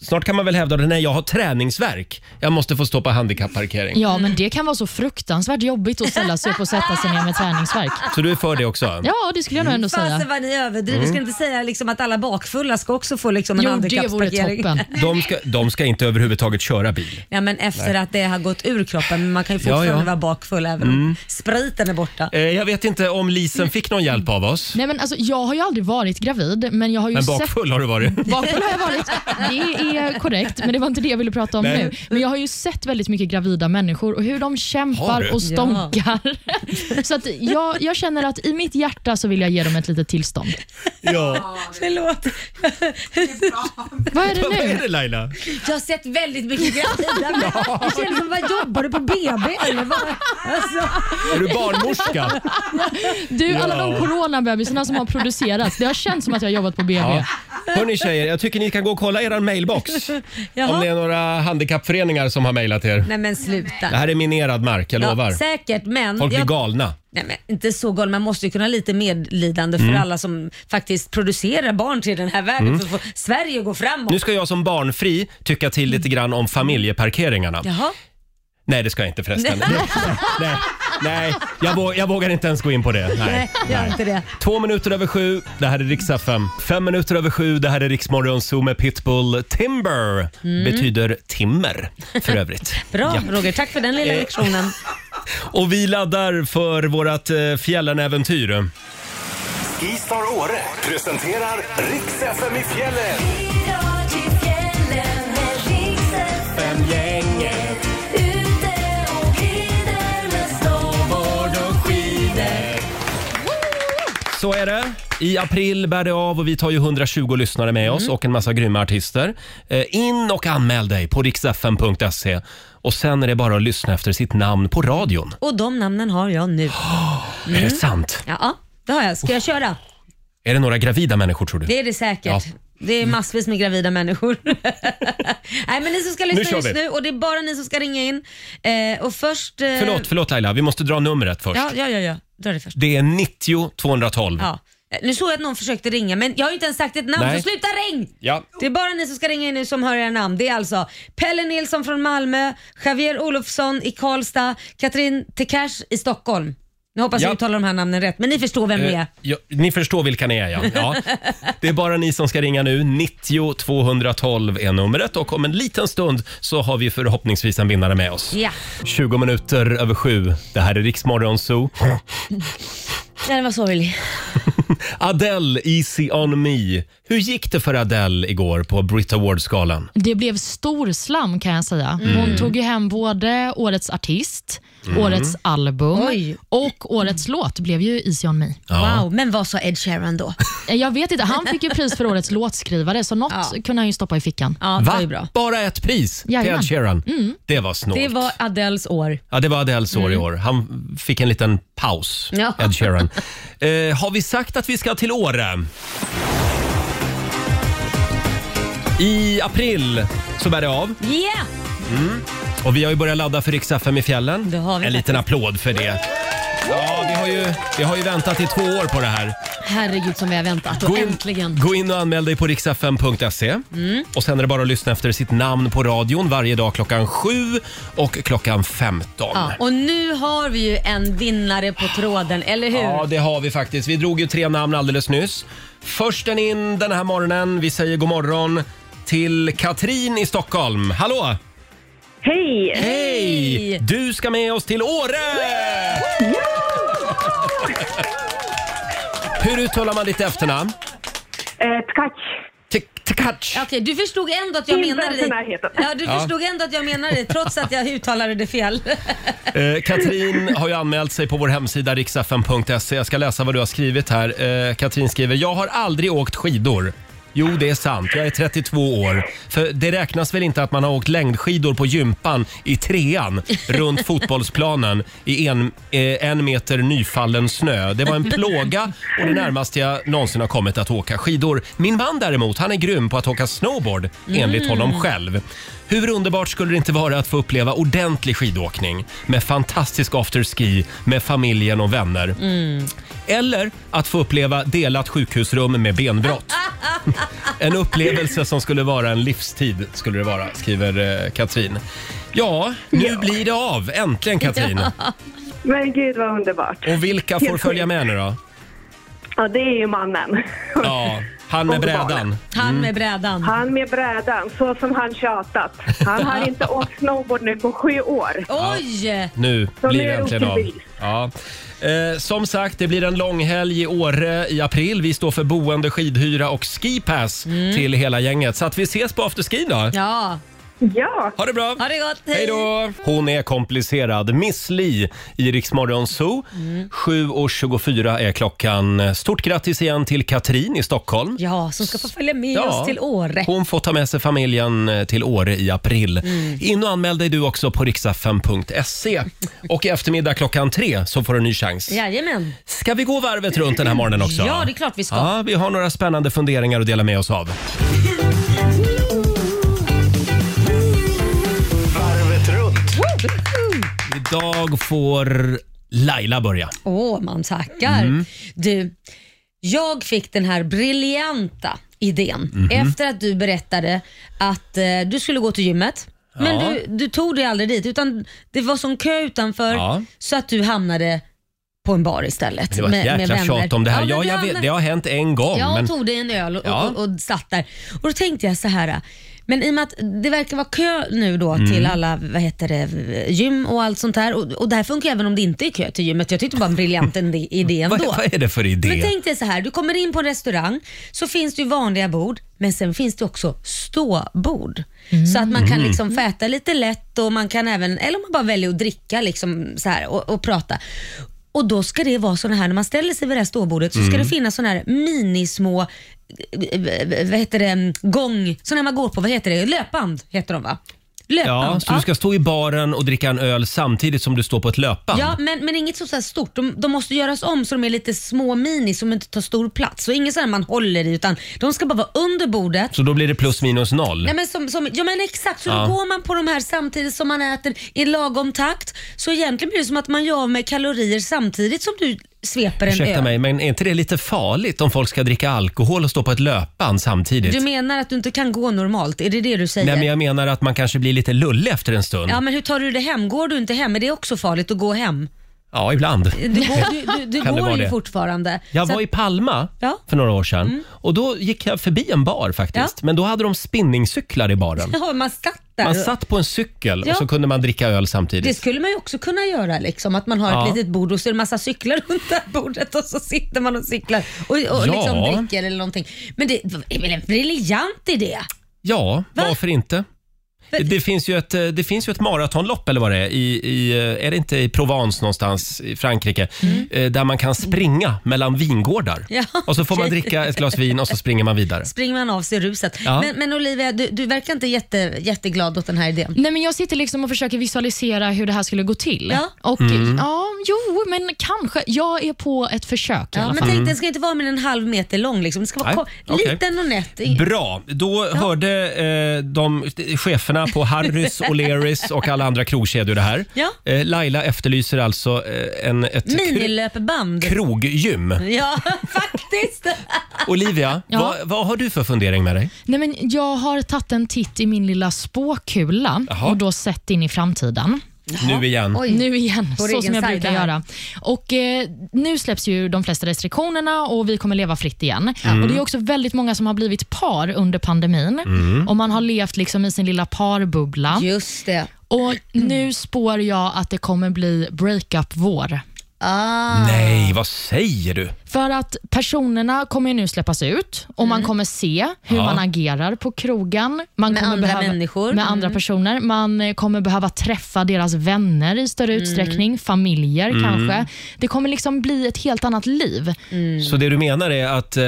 snart kan man väl hävda att nej, jag har träningsverk. Jag måste få stå på handikappparkering. Ja, men det kan vara så fruktansvärt jobbigt att ställa sig upp och sätta sig ner med träningsvärk. Så du är för det också? Ja, det skulle jag nog ändå Fasen säga. vad ni överdriver. Mm. Ska inte säga liksom att alla bakfulla ska också få liksom en Jo, det vore handikappsparkering? toppen. De ska, de ska inte överhuvudtaget köra bil. Ja, men efter att det har gått ur kroppen, men man kan ju fortfarande Ja, Mm. ja. vara bakfull även om spriten är borta. Eh, jag vet inte om Lisen fick någon hjälp av oss. Nej, men alltså, jag har ju aldrig varit gravid, men jag har ju Men sett bakfull har du varit. Bakfull har jag varit. Det är korrekt, men det var inte det jag ville prata om Nej. nu. Men jag har ju sett väldigt mycket gravida människor och hur de Har du? kämpar och stånkar. Så att jag, jag känner att i mitt hjärta så vill jag ge dem ett litet tillstånd. Ja. Förlåt. Vad är det Vad är nu? det Laila? Jag har sett väldigt mycket gravida män. Jag känner som, vad jobbar du på BB eller? Vad? Alltså, Är du barnmorska? Du, alla Ja. de coronabebisarna som har producerats. Det har känts som att jag har jobbat på BB. Ja. Hörni tjejer, jag tycker ni kan gå och kolla er mailbox. Om jaha. det är några handikappföreningar som har mejlat er. Nej men sluta. Det här är minerad mark, jag lovar. Ja, säkert, men... Folk blir jag- galna. Nej, men inte så galen. Man måste ju kunna ha lite medlidande för Mm. alla som faktiskt producerar barn till den här världen för att få Sverige att gå framåt. Nu ska jag som barnfri tycka till lite grann om familjeparkeringarna. Jaha. Nej, det ska jag inte förresten. Nej, nej jag, vå- jag vågar inte ens gå in på det. Nej. Nej, gör inte det. Två minuter över sju, det här är riksdag 5. Fem minuter över sju, det här är Riksmorgon Zoo med Pitbull. Timber Mm. betyder timmer för övrigt. Bra Roger, tack för den lilla Eh. lektionen. Och vi laddar för vårt eh, fjällenäventyr. Skistar Åre presenterar Riks FM i fjällen. Så är det. I april bär det av och vi tar ju 120 lyssnare med Mm. oss och en massa grymma artister. Eh, In och anmäl dig på riksfn.se. Och sen är det bara att lyssna efter sitt namn på radion. Och de namnen har jag nu. Mm. Är det sant? Ja, det har jag. Ska jag köra? Är det några gravida människor tror du? Det är det säkert. Ja. Det är massvis med gravida människor. Nej men ni som ska lyssna kör just vi. nu och det är bara ni som ska ringa in. Eh, och först... Eh, Förlåt, förlåt Laila. Vi måste dra numret först. Ja, ja, ja, ja. Dra det först. Det är 90 212. Ja. Eh, Nu såg jag att någon försökte ringa men jag har ju inte ens sagt ett namn Nej. så sluta ring! Ja. Det är bara ni som ska ringa in nu som hör era namn. Det är alltså Pelle Nilsson från Malmö, Javier Olofsson i Karlstad, Katrin Tekash i Stockholm. Nu hoppas Ja. jag uttalar de här namnen rätt, men ni förstår vem det Eh, är. ja, ni förstår vilka ni är ja. ja. Det är bara ni som ska ringa nu. 90 212 är numret och om en liten stund så har vi förhoppningsvis en vinnare med oss. Ja, 20 minuter över sju. Det här är Riksmorgon Zoo. den var sorglig. Adele, Easy On Me. Hur gick det för Adele igår på Brit Awards-galan? Det blev storslam kan jag säga. Mm. Hon tog ju hem både årets artist, årets album Oj. och årets låt blev ju Easy on me. Wow, men vad sa Ed Sheeran då? Jag vet inte, han fick ju pris för årets låtskrivare så något Ja. kunde han ju stoppa i fickan. Ja, det var ju bra. Mm. Bara ett pris till Jajamän. Ed Sheeran? Det var snålt. Det var Adeles år. Ja, det var Adeles år i år. Han fick en liten paus, Mm. Ja. Ed Sheeran. eh, har vi sagt att vi ska till Åre? I april så bär det av Yeah! och vi har ju börjat ladda för riks FM i fjällen. Det har vi en faktiskt. liten applåd för det. Ja, vi har, ju, vi har ju väntat i två år på det här. Herregud som vi har väntat och äntligen. Mm. gå in och anmäl dig på riksfm.se. Och sen är det bara att lyssna efter sitt namn på radion varje dag klockan 7 och klockan 15. Ja, och nu har vi ju en vinnare på tråden, eller hur? Ja, det har vi faktiskt. Vi drog ju tre namn alldeles nyss. Försten in den här morgonen, vi säger god morgon till Katrin i Stockholm. Hallå! Hej! Hej! Du ska med oss till Åre! Hur uttalar man ditt efternamn? Eh, Tkac. Tek- Tekach. Okej, du förstod ändå att jag Inte menade ens i dig. närheten. Ja, du förstod ändå att jag menade dig trots att jag uttalade det fel. Eh, Katrin har ju anmält sig på vår hemsida riksfn.se. Jag ska läsa vad du har skrivit här. Eh, Katrin skriver, jag har aldrig åkt skidor. Jo, det är sant. Jag är 32 år. För det räknas väl inte att man har åkt längdskidor på gympan i trean runt fotbollsplanen i en, eh, en meter nyfallen snö. Det var en plåga och det närmaste jag någonsin har kommit att åka skidor. Min man däremot, han är grym på att åka snowboard enligt honom själv. Hur underbart skulle det inte vara att få uppleva ordentlig skidåkning med fantastisk afterski med familjen och vänner. Eller att få uppleva delat sjukhusrum med benbrott. En upplevelse som skulle vara en livstid, skulle det vara, skriver eh, Katrin. Ja, nu blir det av. Äntligen Katrin. Men gud vad underbart. Och vilka får Helt följa med nu då? Ja, det är ju mannen. Ja, han med Och barnen. brädan. Han med brädan. Han med brädan, så som han tjatat. Han har inte åkt snowboard nu på sju år. Oj! Nu Så blir nu det är det äntligen av. bevis. Ja. Eh, som sagt, det blir en lång helg i Åre i april. Vi står för boende, skidhyra och skipass till hela gänget. Så att vi ses på afterski då. Mm. Ja, Ja, Ha det bra! Ha det gott, hej! Hej då! Hon är komplicerad. Miss Li i Rix Morgon Zoo. Mm. 7.24 är klockan. Stort grattis igen till Katrin i Stockholm. Ja, som ska få följa med oss till Åre. Hon får ta med sig familjen eh, till Åre i april. Mm. In och anmäl dig du också på riksa5.se. Och i eftermiddag klockan tre så får du en ny chans. Jajamän. Ska vi gå varvet runt den här morgonen också? Ja, det är klart vi ska. Ja, vi har några spännande funderingar att dela med oss av. Varvet runt. Idag får Laila börja. Åh, man tackar. Mm. Du, jag fick den här briljanta idén Mhm. efter att du berättade att eh, du skulle gå till gymmet. Men Ja. du, du tog dig aldrig dit utan det var sån kö utanför Ja. så att du hamnade på en bar istället. Det var ett jäkla tjat om det här. Ja, men du jag vet, hamnade- det har hänt en gång. Ja, men... och tog dig en öl och, Ja. och, och satt där. Och då tänkte jag så här. Men i och med att det verkar vara kö nu då Mm. till alla vad heter det, gym och allt sånt där. Och, och det här funkar även om det inte är kö till gymmet. Jag tyckte det var en briljant idé- idé ändå. Vad, vad är det för idé? Men tänk dig så här, du kommer in på en restaurang så finns det ju vanliga bord men sen finns det också ståbord. Mm. Så att man kan liksom få äta lite lätt och man kan även, eller om man bara väljer att dricka liksom så här och, och prata. Och då ska det vara sådana här, när man ställer sig vid det här ståbordet så Mm. ska det finnas sådana här minismå eh, eh, vad heter det, gång, sådana här man går på, vad heter det, löpband heter de va? Löpband. Ja, så du ska stå i baren och dricka en öl samtidigt som du står på ett löpband? Ja, men, men inget så, så här stort. De, de måste göras om så de är lite små mini som inte tar stor plats. Så inget sådär man håller i utan de ska bara vara under bordet. Så då blir det plus minus noll? Nej, men som, som, ja men exakt, så Ja. då går man på de här samtidigt som man äter i lagom takt. Så egentligen blir det som att man gör av med kalorier samtidigt som du sveper en Ursäkta öl. mig, men är inte det lite farligt om folk ska dricka alkohol och stå på ett löpband samtidigt? Du menar att du inte kan gå normalt? Är det det du säger? Nej, men jag menar att man kanske blir lite lullig efter en stund. Ja men hur tar du det hem? Går du inte hem? Är det också farligt att gå hem? Ja, ibland. Du, går- du, du, du Kan det går vara ju det? fortfarande. Jag Eh, Så var i Palma Ja. Mm. för några år sedan och då gick jag förbi en bar faktiskt. Men då hade de spinningcyklar i baren. att- Ja, man satt där. Man och- satt på en cykel Ja. och så kunde man dricka öl Det samtidigt. skulle man ju också kunna göra, liksom, att man har Ja. ett litet bord och så är det massa cyklar runt det här bordet och så sitter man och cyklar och, och liksom Ja. dricker eller någonting. Men det är väl en briljant idé? Ja, Va? varför inte? För- Det finns, ju ett, eh, det finns ju ett maratonlopp, eller vad det är, i, i, eh, är det inte i Provence någonstans i Frankrike, Eh, där man kan springa mellan vingårdar. Mm. Ja, Och så får man okej. dricka ett glas vin och så springer man vidare. Springer man av sig ruset. Ja. Men, men Olivia, du, du verkar inte jätte, jätteglad åt den här idén. Nej, men jag sitter liksom och försöker visualisera hur det här skulle gå till. Ja. Och, ja, jo, men kanske. Jag är på ett försök i Ja, alla men fall. tänk, den ska inte vara mer än en halv meter lång. Liksom. Den ska vara Mm. Nej, ko- okej. liten och nätt. I- Bra, då hörde eh, de cheferna på Harrys, O'Learys och alla andra krogkedjor det här. Ja. Eh, Laila efterlyser alltså eh, en, ett kro- Minilöpband. kroggym. Ja, faktiskt. Olivia, Ja. vad, vad har du för fundering med dig? Nej, men jag har tagit en titt i min lilla spåkula Jaha. och då sett in i framtiden. Nu igen. Oj. Nu igen, Vår så Mm. egen som jag sajt brukar här. göra. Och, eh, nu släpps ju de flesta restriktionerna och vi kommer leva fritt igen. Och Det är också väldigt många som har blivit par under pandemin och man har levt liksom i sin lilla parbubbla. Just det. Och Nu spår jag att det kommer bli breakup-vår. Ah. Nej, vad säger du? För att personerna kommer ju nu släppas ut och man kommer se hur Mm. Ja. man agerar på krogen. Man Med kommer andra behöva, människor. Med Mm. andra personer. Man eh, kommer behöva träffa deras vänner i Mm. större utsträckning, familjer kanske. Det kommer liksom bli ett helt annat liv. Så det du menar är att eh,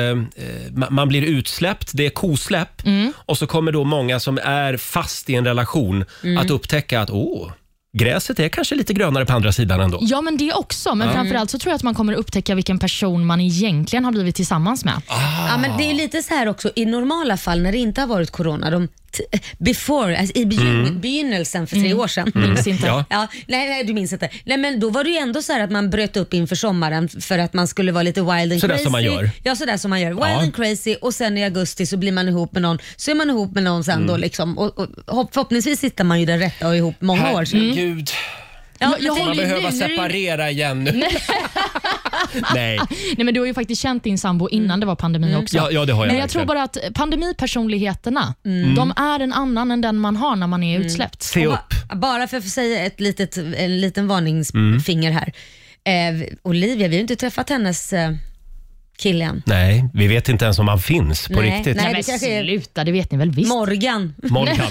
ma- man blir utsläppt, det är kosläpp och så kommer då många som är fast i en relation att upptäcka att åh, gräset är kanske lite grönare på andra sidan ändå. Ja, men det också. Men framförallt så tror jag att man kommer upptäcka vilken person man egentligen har blivit tillsammans med. Ah, Ja, men det är ju lite så här också i normala fall när det inte har varit corona, de t- before, alltså i begyn- Mm. begynnelsen för tre år sedan. Minns inte. Ja. Ja, nej, nej, du minns inte. Nej, men då var det ju ändå så här att man bröt upp inför sommaren för att man skulle vara lite wild and Sådär crazy. som man gör. Ja, sådär som man gör. Wild Ja. and crazy och sen i augusti så blir man ihop med någon, så är man ihop med någon sen då Mm. liksom. Och, och hopp, förhoppningsvis hittar man ju den rätta och är ihop många år. Så. Herregud, Ja, jag tänk man håller ju nu, behöver nu är det ju- separera igen nu. Nej, Nej, men du har ju faktiskt känt din sambo innan det var pandemi också. Mm. ja, ja det har jag Men jag verkligen. Mm. tror bara att pandemipersonligheterna, de är en annan än den man har när man är utsläppt. Se upp. Ba- Bara för att få säga ett litet, en liten varningsfinger här. Eh, Olivia, vi har ju inte träffat hennes eh, killen? Nej, vi vet inte ens om han finns på Nej, riktigt. nej. Nej, men det kanske är- sluta, det vet ni väl visst? Morgan. Morgan.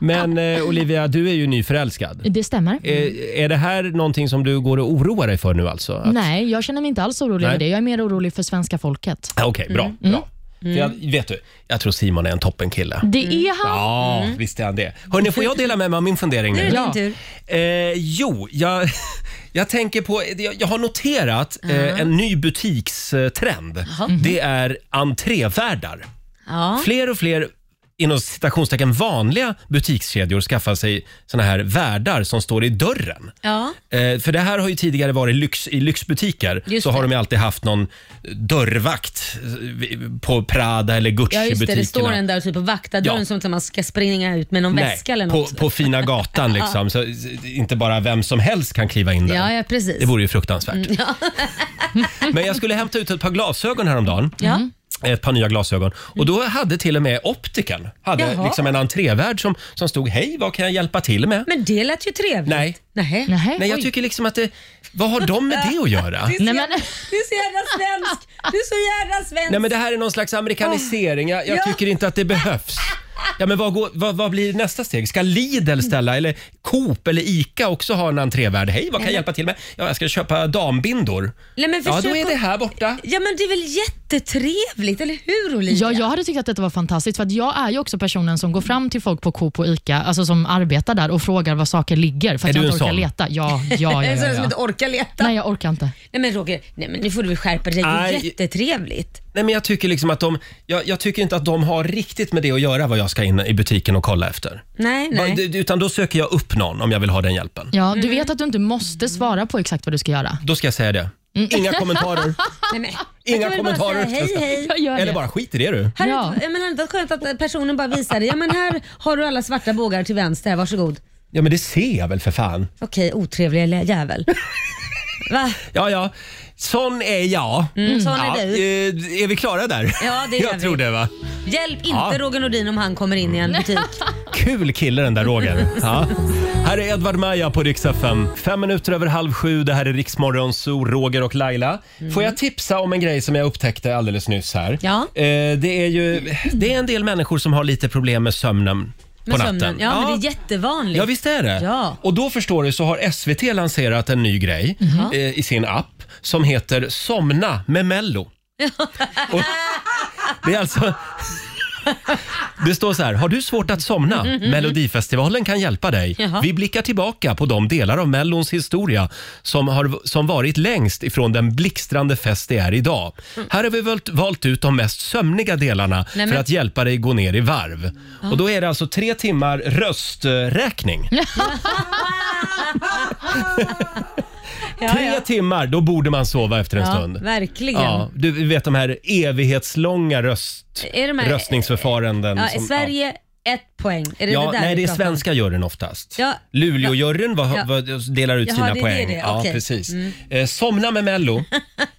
Men, men eh, Olivia, du är ju nyförälskad. Det stämmer. Eh, är det här någonting som du går och oroar dig för nu alltså? Att- Nej, jag känner mig inte alls orolig Nej. över det. Jag är mer orolig för svenska folket. Ah, Okej, bra. bra. För jag, vet du, jag tror Simon är en toppenkille. Mm. Det Mm. är han. Ja, visst är han det. Hörni, får jag dela med mig av min fundering Nu är nu? det Ja. din tur. Eh, jo, jag, jag tänker på... Jag, jag har noterat eh, en ny butikstrend. Mm-hmm. Det är entrévärdar. Ja. Fler och fler inom citationstecken vanliga butikskedjor skaffar sig såna här värdar som står i dörren. Ja. Eh, för det här har ju tidigare varit lyx, i lyxbutiker. Just så har det. de ju alltid haft någon dörrvakt eh, på Prada eller Ja just det, Gucci-butikerna. det står en där och typ och vaktar dörren Ja. som att man ska springa ut med någon Nej, väska eller på, något. på fina gatan liksom. Så, s- inte bara vem som helst kan kliva in där. Ja, Mm, ja precis. Det vore ju fruktansvärt. Men jag skulle hämta ut ett par glasögon häromdagen. Ja. Mm. Mm. Ett par nya glasögon. Och då hade till och med optiken hade Jaha. liksom en entrévärd som, som stod “Hej, vad kan jag hjälpa till med?” Men det lät ju trevligt. Nej. Nej. Nej, Nej, jag oj. tycker liksom att det... Vad har de med det att göra? Du är, så jävla, Nej, men- du är så jävla svensk! Du är så jävla svensk! Nej, men det här är någon slags amerikanisering. Jag, jag Ja. tycker inte att det behövs. Ja, men vad, går, vad, vad blir nästa steg? Ska Lidl ställa, eller Coop eller ICA också ha en entrévärd? Hej, vad kan jag hjälpa till med? Ja, jag ska köpa dambindor. Nej, men ja, då försök är att- det här borta. Ja men det är väl jättetrevligt, eller hur Olivia? Ja, jag hade tyckt att detta var fantastiskt, för att jag är ju också personen som går fram till folk på Coop och ICA, alltså som arbetar där och frågar var saker ligger, för Är att jag du inte en orkar sån? leta. Ja, ja, Jag ja, är en sån som ja, inte ja. orkar leta. Nej, Nej. jag orkar inte. men Roger, nej men nu får du väl skärpa dig. Det är Aj. jättetrevligt. Nej, men jag tycker liksom att de... Jag, jag tycker inte att de har riktigt med det att göra vad jag ska in i butiken och kolla efter. Nej, nej. Va- d- Utan då söker jag upp någon om jag vill ha den hjälpen. Ja, Mm. du vet att du inte måste svara på exakt vad du ska göra. Då ska jag säga det. Inga kommentarer. nej men, Inga jag Mm. kan väl bara kommentarer. Säga, hej hej. Jag gör Eller det. bara skit i det du. Här Ja. ja. jag menar, det var skönt att eh, personen bara visade. Ja men här har du alla svarta bågar till vänster, här, varsågod. Ja, men det ser jag väl för fan. Okej, otrevliga lä- jävel. Va? Ja, ja. Sån är jag. Mm, sån är ja, du. eh, är vi klara där? Ja, det är Jag vi. tror det va. Hjälp inte Ja. Roger Nordin om han kommer in i en butik. Kul kille den där Roger. Ja. Här är Edvard Maja på Rix FM. Fem minuter över halv sju. Det här är Riksmorgon Zoo, Roger och Laila. Får jag tipsa om en grej som jag upptäckte alldeles nyss här? Mm. Ja. Eh, det är ju det är en del människor som har lite problem med sömnen Med på natten. sömnen. Ja, men det är jättevanligt. Ja, visst är det. Ja. Och då förstår du så har SVT lanserat en ny grej Mhm. eh, i sin app som heter Somna med Mello. Och det är alltså... Det står så här, har du svårt att somna? Melodifestivalen kan hjälpa dig. Mhm. Jaha. Vi blickar tillbaka på de delar av Mellons historia som, har, som varit längst ifrån den blixtrande fest det är idag. Här har vi valt, valt ut de mest sömniga delarna Mm. men- för att hjälpa dig gå ner i varv. Och då är det alltså tre timmar rösträkning. ja, Tre timmar, då borde man sova efter en Ja, stund. verkligen. Ja, du vet de här evighetslånga röst, Är de här- röstningsförfaranden. Ja, som- ja. Sverige, ett poäng. Är det Ja, det där nej, vi det är pratar om? svenska juryn oftast. Ja. Luleåjuryn var, Ja. var, delar ut Jaha, sina det är det poäng. det, Ja, okej. Mm. precis. Eh, Somna med Mello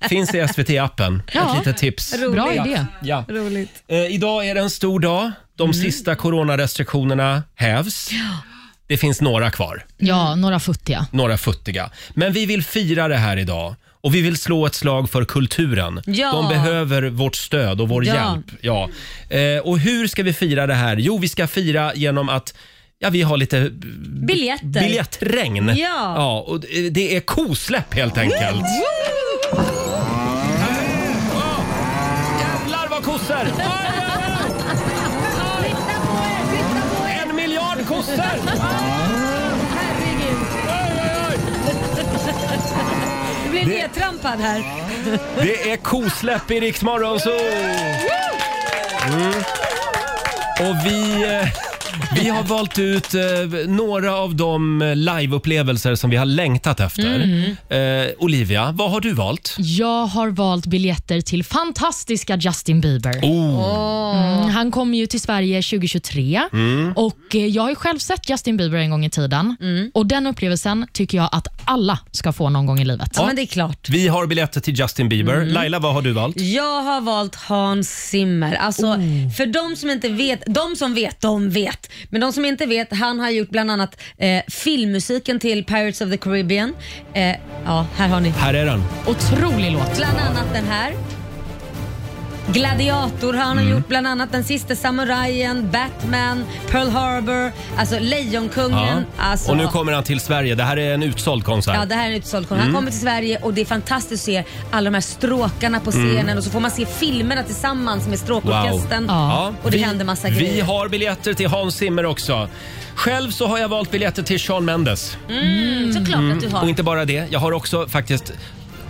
finns i SVT-appen. Ja. Ett litet tips. Bra Roligt. idé. Ja. Roligt. Eh, idag är det en stor dag. De Mm. sista coronarestriktionerna hävs. Det finns några kvar, Mm. Ja, några futtiga. några futtiga. Men vi vill fira det här idag. Och vi vill slå ett slag för kulturen. Ja. De behöver vårt stöd och vår Ja. hjälp. Ja. Eh, och hur ska vi fira det här? Jo, vi ska fira genom att ja, vi har lite Biljetter. Biljettregn. Ja. ja och det- det är kosläpp helt enkelt. Jävlar vad kossor! Aj, aj, aj! En miljard kossor! Aj, aj, aj! Du blev nedtrampad här. Det är kosläpp i Rix Morgon Zoo! Mm. Och vi, eh, vi har valt ut eh, några av de eh, liveupplevelser som vi har längtat efter. Eh, Olivia, vad har du valt? Jag har valt biljetter till fantastiska Justin Bieber. Oh. Mm, han kommer ju till Sverige 2023 och eh, jag har ju själv sett Justin Bieber en gång i tiden och den upplevelsen tycker jag att alla ska få någon gång i livet. Ja, men det är klart. Vi har biljetter till Justin Bieber. Mm. Laila, vad har du valt? Oh. Jag har valt Hans Zimmer. Alltså, För de som inte vet, de som vet, de vet. vet. Men de som inte vet, han har gjort bland annat eh, filmmusiken till Pirates of the Caribbean. Eh, ja, här har ni. Här är den. Otrolig låt. Bland annat den här. Gladiator har Mm. han gjort, bland annat Den sista samurajen, Batman, Pearl Harbor, alltså Ja. Lejonkungen. Alltså, Och nu kommer han till Sverige. Det här är en utsåld konsert. Ja, det här är en utsåld konsert. Mm. Han kommer till Sverige och det är fantastiskt att se alla de här stråkarna på Mm. scenen och så får man se filmerna tillsammans med stråkorkestern. Ja. Och det vi, händer massa vi grejer. har biljetter till Hans Zimmer också. Själv så har jag valt biljetter till Shawn Mendes. Mm, såklart att du Och har. inte bara det, jag har också faktiskt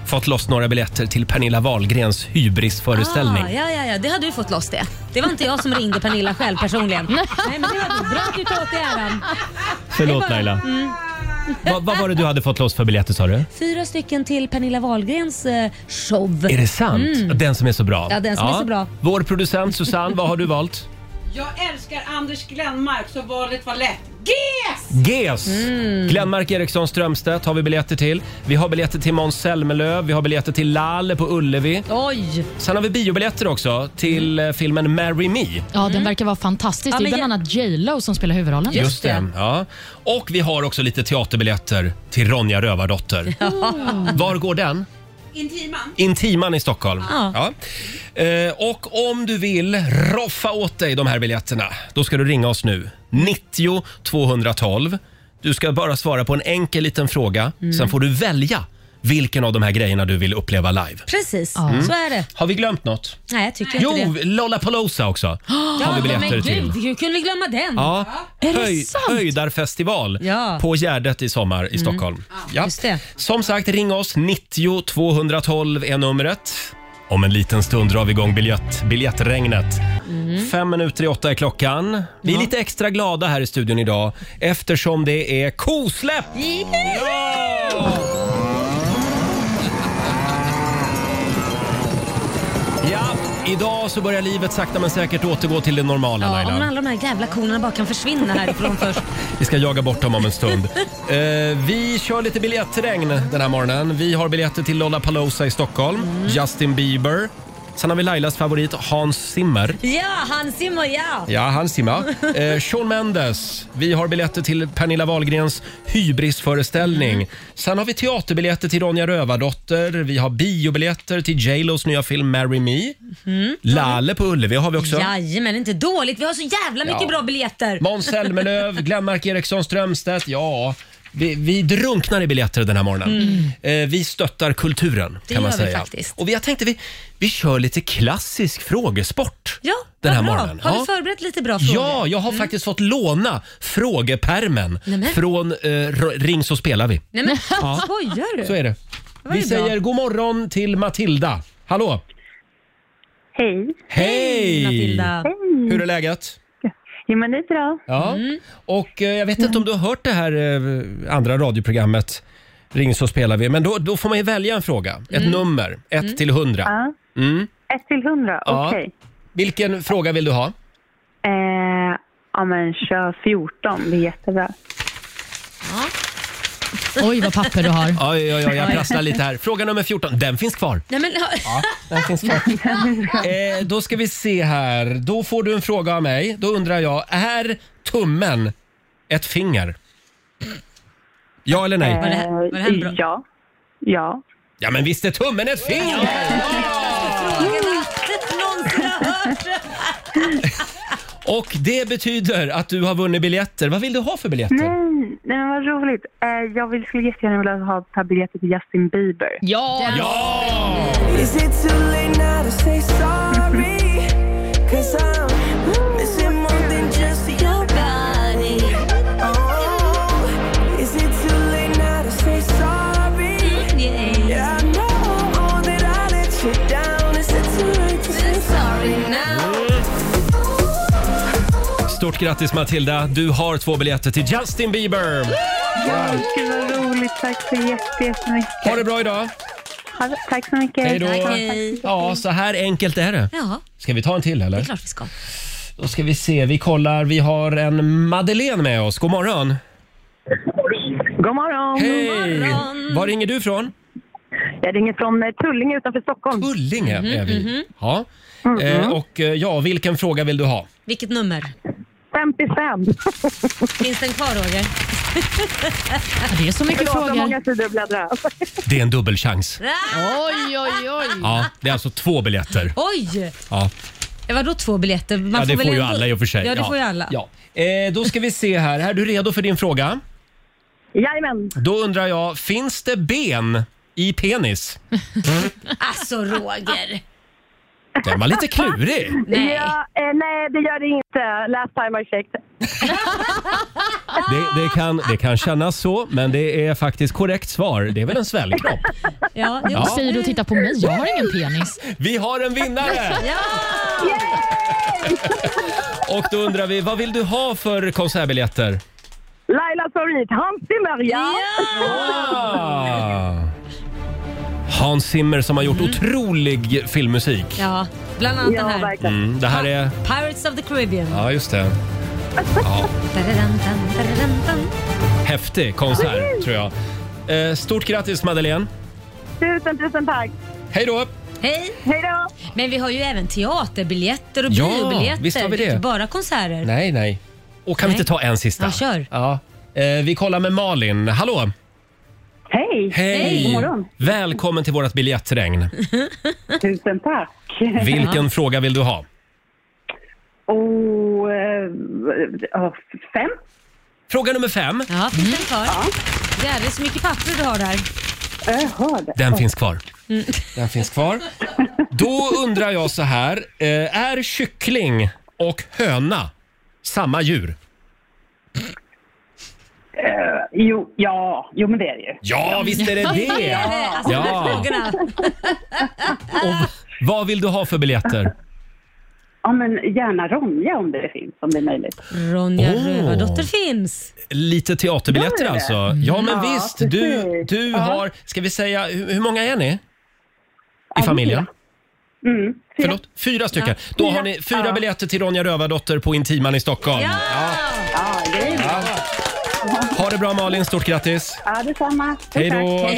fått loss några biljetter till Pernilla Wahlgrens hybrisföreställning. Ah, ja, ja, ja, det hade du fått loss det. Det var inte jag som ringde Pernilla själv personligen. Nej, men det var bra att du tar åt dig äran. Förlåt Laila. Mm. Vad vad var det du hade fått loss för biljetter sa du? Fyra stycken till Pernilla Wahlgrens eh, show. Är det sant? Den som är så bra. Mm. Ja, den som är så bra. Vår producent Susanne, vad har du valt? Jag älskar Anders Glenmark så valet var lätt. GES! Mm. GES! Glenmark Eriksson Strömstedt har vi biljetter till. Vi har biljetter till Måns Zelmerlöw, vi har biljetter till Lalle på Ullevi. Oj! Sen har vi biobiljetter också till eh, filmen Marry Me. Ja, den verkar vara fantastisk. Ja, det är men bland annat J Lo som spelar huvudrollen. Just det. Ja. Och vi har också lite teaterbiljetter till Ronja Rövardotter. Var går den? Intiman. Intiman i Stockholm. Ja. Ja. Eh, och om du vill roffa åt dig de här biljetterna, då ska du ringa oss nu. 90 212. Du ska bara svara på en enkel liten fråga. Mm. Sen får du välja vilken av de här grejerna du vill uppleva live. Precis, så är det. Har vi glömt något? Nej, jag tycker inte Jo, det. Lollapalooza också. har vi men biljetter till. gud, hur kunde vi glömma den? Ja, höj, sant? höjdarfestival Ja. Mm. på Gärdet i sommar i Stockholm. Ja. Just det. Som sagt, ring oss. 90 212 är numret. Om en liten stund drar vi igång biljett, biljettregnet. Mm. Fem minuter i åtta är klockan. Vi är lite extra glada här i studion idag eftersom det är kosläpp! Ja! Ja, idag så börjar livet sakta men säkert återgå till det normala Ja, Laila. om alla de här jävla konerna bara kan försvinna härifrån först. Vi ska jaga bort dem om en stund. Eh, vi kör lite biljettregn den här morgonen. Vi har biljetter till Lollapalooza i Stockholm, Justin Bieber. Sen har vi Lailas favorit Hans Zimmer. Ja, Hans Zimmer, ja! Ja, Hans Zimmer. Eh, Shawn Mendes. Vi har biljetter till Pernilla Wahlgrens hybrisföreställning. Sen har vi teaterbiljetter till Ronja Rövardotter. Vi har biobiljetter till J Los nya film Marry Me. Lalle på Ullevi har vi också. Jajamän, inte dåligt. Vi har så jävla mycket Ja. bra biljetter. Måns Zelmerlöw, Glenmark Eriksson Strömstedt. Ja, vi, vi drunknar i biljetter den här morgonen. Eh, vi stöttar kulturen Mm. Det kan man gör vi säga. faktiskt. Och vi, jag tänkte vi, vi kör lite klassisk frågesport Ja, den här vad bra. morgonen. Har Ja. du förberett lite bra frågor? Ja, jag har faktiskt fått låna frågepermen Nämen. från eh, R- Ring så spelar vi. Nej men skojar du? Så är det. Vi ju bra. säger god morgon till Matilda. Hallå! Hej. Hej! Matilda. Hur är läget? Jo, Mm. men det är bra. Ja, och eh, jag vet inte om du har hört det här eh, andra radioprogrammet Ring så spelar vi, men då, då får man ju välja en fråga, ett nummer, 1 till 100. Ja. Ett till hundra, Ja. okej. Vilken fråga vill du ha? Eh, ja, men kör 14, det är jättebra. Oj, vad papper du har. Oj, oj, oj, jag prasslar lite här. Fråga nummer 14, den finns kvar. Nej, men, ja. Den finns kvar. eh, då ska vi se här, då får du en fråga av mig. Då undrar jag, är tummen ett finger? Ja eller Eh, nej? Var det här, var det här en bra? Ja. Ja. Ja men visst är tummen ett finger! Någonsin har hört. Och det betyder att du har vunnit biljetter. Vad vill du ha för biljetter? Nej, Mm, nej, men vad roligt. Eh, jag vill, skulle jättegärna vilja ha ta biljetter till Justin Bieber. Ja, Ja! Is it too late now to say sorry? Cause I'm missing more than just your body. Oh, is it too late now to say sorry? Yeah, I know all that I let you down. Is it too late to say sorry now? Stort grattis Matilda! Du har två biljetter till Justin Bieber! Gud, vad roligt. Tack så jätte- jättemycket. Ha det bra idag! Ha det- Tack så mycket. Hej då. Okej. Ja, så här enkelt är det. Ja, Ska vi ta en till det är eller? klart vi ska. Då ska vi se, vi kollar. Vi har en Madeleine med oss. God morgon! God morgon. Hej! morgon. Var ringer du ifrån? Jag ringer från eh, Tullinge utanför Stockholm. Ullinge Mm-hmm, är vi. Ja. Eh, och eh, ja, vilken fråga vill du ha? Vilket nummer? 55. Finns den kvar Roger? Det är så mycket Förlåt, hur frågor. många sidor bläddrar jag? Det är en dubbelchans. Oj, oj, oj. Ja, det är alltså två biljetter. Oj! Ja, Det var då två biljetter? Man ja det väl får ju ändå- alla i och för sig. Ja, det får ju alla. Ja. Eh, då ska vi se här. Är du redo för din fråga? Jajamän. Då undrar jag, finns det ben i penis? Alltså Roger! Den var lite klurig. Nej. Ja, eh, nej, det gör det inte. Last time I checked. Det, det, kan, det kan kännas så, men det är faktiskt korrekt svar. Det är väl en svällkropp? Ja, jo. Ja. Vad säger du och tittar på mig? Jag har ingen penis. Vi har en vinnare! Ja! Och då undrar vi, vad vill du ha för konsertbiljetter? Lailas favorit, Hans Zimmer. Ja. Ah. Hans Zimmer som har gjort otrolig filmmusik. ja, bland annat Ja, den här. verkligen. Mm, det här är... Pirates of the Caribbean. Ja, just det. Tararantan, tararantan. Häftig konsert, tror jag. Eh, stort grattis, Madeleine. Tusen, tusen tack. Hej då! Hej! Hej då. Men vi har ju även teaterbiljetter och Ja, biobiljetter. visst har vi är det. inte bara konserter. Nej, nej. Och kan vi Nej. inte ta en sista? Ja, kör. Ja. Eh, vi kollar med Malin. Hallå! Hej. Hej, Hej! Välkommen till vårt biljettregn. Tusen tack. Vilken fråga vill du ha? Och, eh, eh, fem. Fråga nummer fem. Ja, finns den kvar? Det är så mycket papper du har där. Jag hörde. Den finns kvar. Mm. Den finns kvar. Då undrar jag så här. Eh, är kyckling och höna samma djur? Jo, ja, jo men det är det ju. Ja, visst är det det! Alltså, de här Ja. frågorna. Och vad vill du ha för biljetter? Ja, men gärna Ronja om det finns, om det är möjligt. Ronja Åh. Rövardotter finns. Lite teaterbiljetter Gör det? alltså? Ja, men Ja, visst. Du, precis. du Ja. har... Ska vi säga, hur, hur många är ni i familjen? Mm. Fyra. Förlåt? Fyra stycken. Då har ni fyra Ja. biljetter till Ronja Rövardotter på Intiman i Stockholm. Ja! Ja, det är ja. Ha det bra Malin, stort grattis! ja detsamma. Hej då! Tack.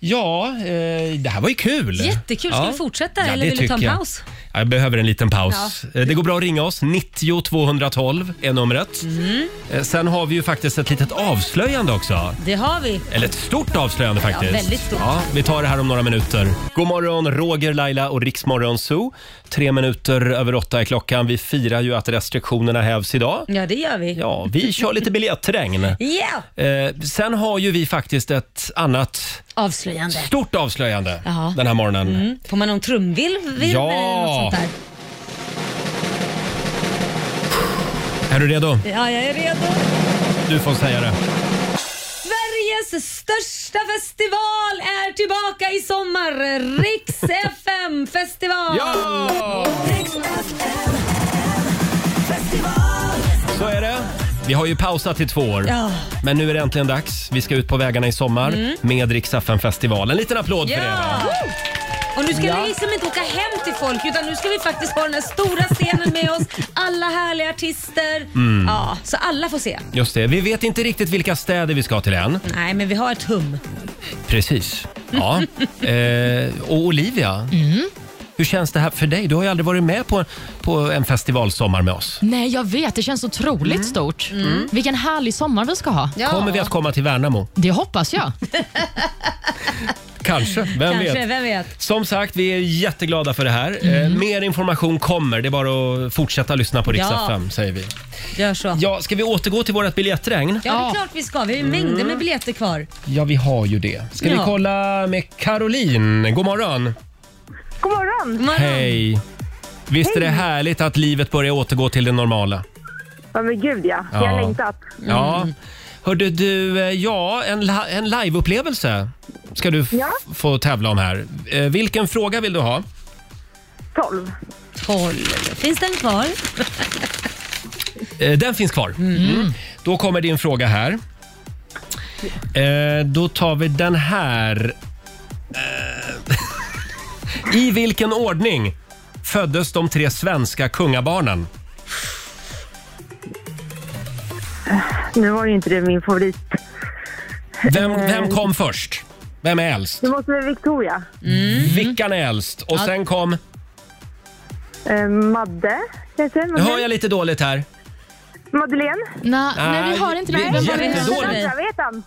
Ja, eh, det här var ju kul. Jättekul. Ska Ja. vi fortsätta Ja, eller det vill du ta en tycker jag. paus? Jag behöver en liten paus. Eh, Det går bra att ringa oss. 90 212 är numret. Mm. Eh, Sen har vi ju faktiskt ett litet avslöjande också. Det har vi. Eller ett stort avslöjande faktiskt. väldigt stort. Ja, vi tar det här om några minuter. God morgon, Roger, Laila och Riksmorgon Zoo. Tre minuter över åtta är klockan. Vi firar ju att restriktionerna hävs idag. Ja, det gör vi. Ja, vi kör lite biljettregn. Ja! Eh, sen har ju vi faktiskt ett annat Avslöjande. stort avslöjande Jaha. den här morgonen. Mm. Får man någon trumvirvel Ja. eller något sånt där? Är du redo? Ja, jag är redo. Du får säga det. Sveriges största festival är tillbaka i sommar. Riks FM festival. Ja! Så är det. Vi har ju pausat i två år. Ja. Mm. Men nu är det äntligen dags. Vi ska ut på vägarna i sommar med Rix festival En liten applåd för det. Ja! va? Och nu ska vi liksom inte åka hem till folk utan nu ska vi faktiskt ha den här stora scenen med oss. Alla härliga artister. Mm. Ja, så alla får se. Just det. Vi vet inte riktigt vilka städer vi ska till än. Nej, men vi har ett hum. Precis. Ja. eh, och Olivia, Mm. hur känns det här för dig? Du har ju aldrig varit med på, på en festivalsommar med oss. Nej, jag vet. Det känns otroligt stort. Vilken härlig sommar vi ska ha. Kommer vi att komma till Värnamo? Det hoppas jag. Kanske, vem Kanske, vet? vem vet? Som sagt, vi är jätteglada för det här. Eh, mer information kommer. Det är bara att fortsätta lyssna på Rix Ja. FM, säger vi. Gör så. Ja, Ja, ska vi återgå till vårt biljettregn? det är klart vi ska. Vi har ju mängder Mm. med biljetter kvar. Ja, vi har ju det. Ska vi Ja. kolla med Caroline? God morgon! God morgon. Man, Hej! Visst är det härligt att livet börjar återgå till det normala? Ja, men gud ja. Ja. Jag har längtat. Mm. Ja. Hörde du, eh, ja, en, la- en liveupplevelse ska du f- Ja. få tävla om här. Eh, Vilken fråga vill du ha? 12. 12. Finns den kvar? Eh, Den finns kvar. Mm. Då kommer din fråga här. Eh, Då tar vi den här. Eh, I vilken ordning föddes de tre svenska kungabarnen? Eh, Nu var ju inte det min favorit. Eh, Vem, vem kom först? Vem är äldst? Det Mm. måste vara Victoria. Vickan är äldst? Och sen kom... Eh, Madde, kanske? Nu Madde? hör jag lite dåligt här. Madeleine? Nej, nej, vi har inte det. vi- Vem var det? Jättedåligt. Jag vet han?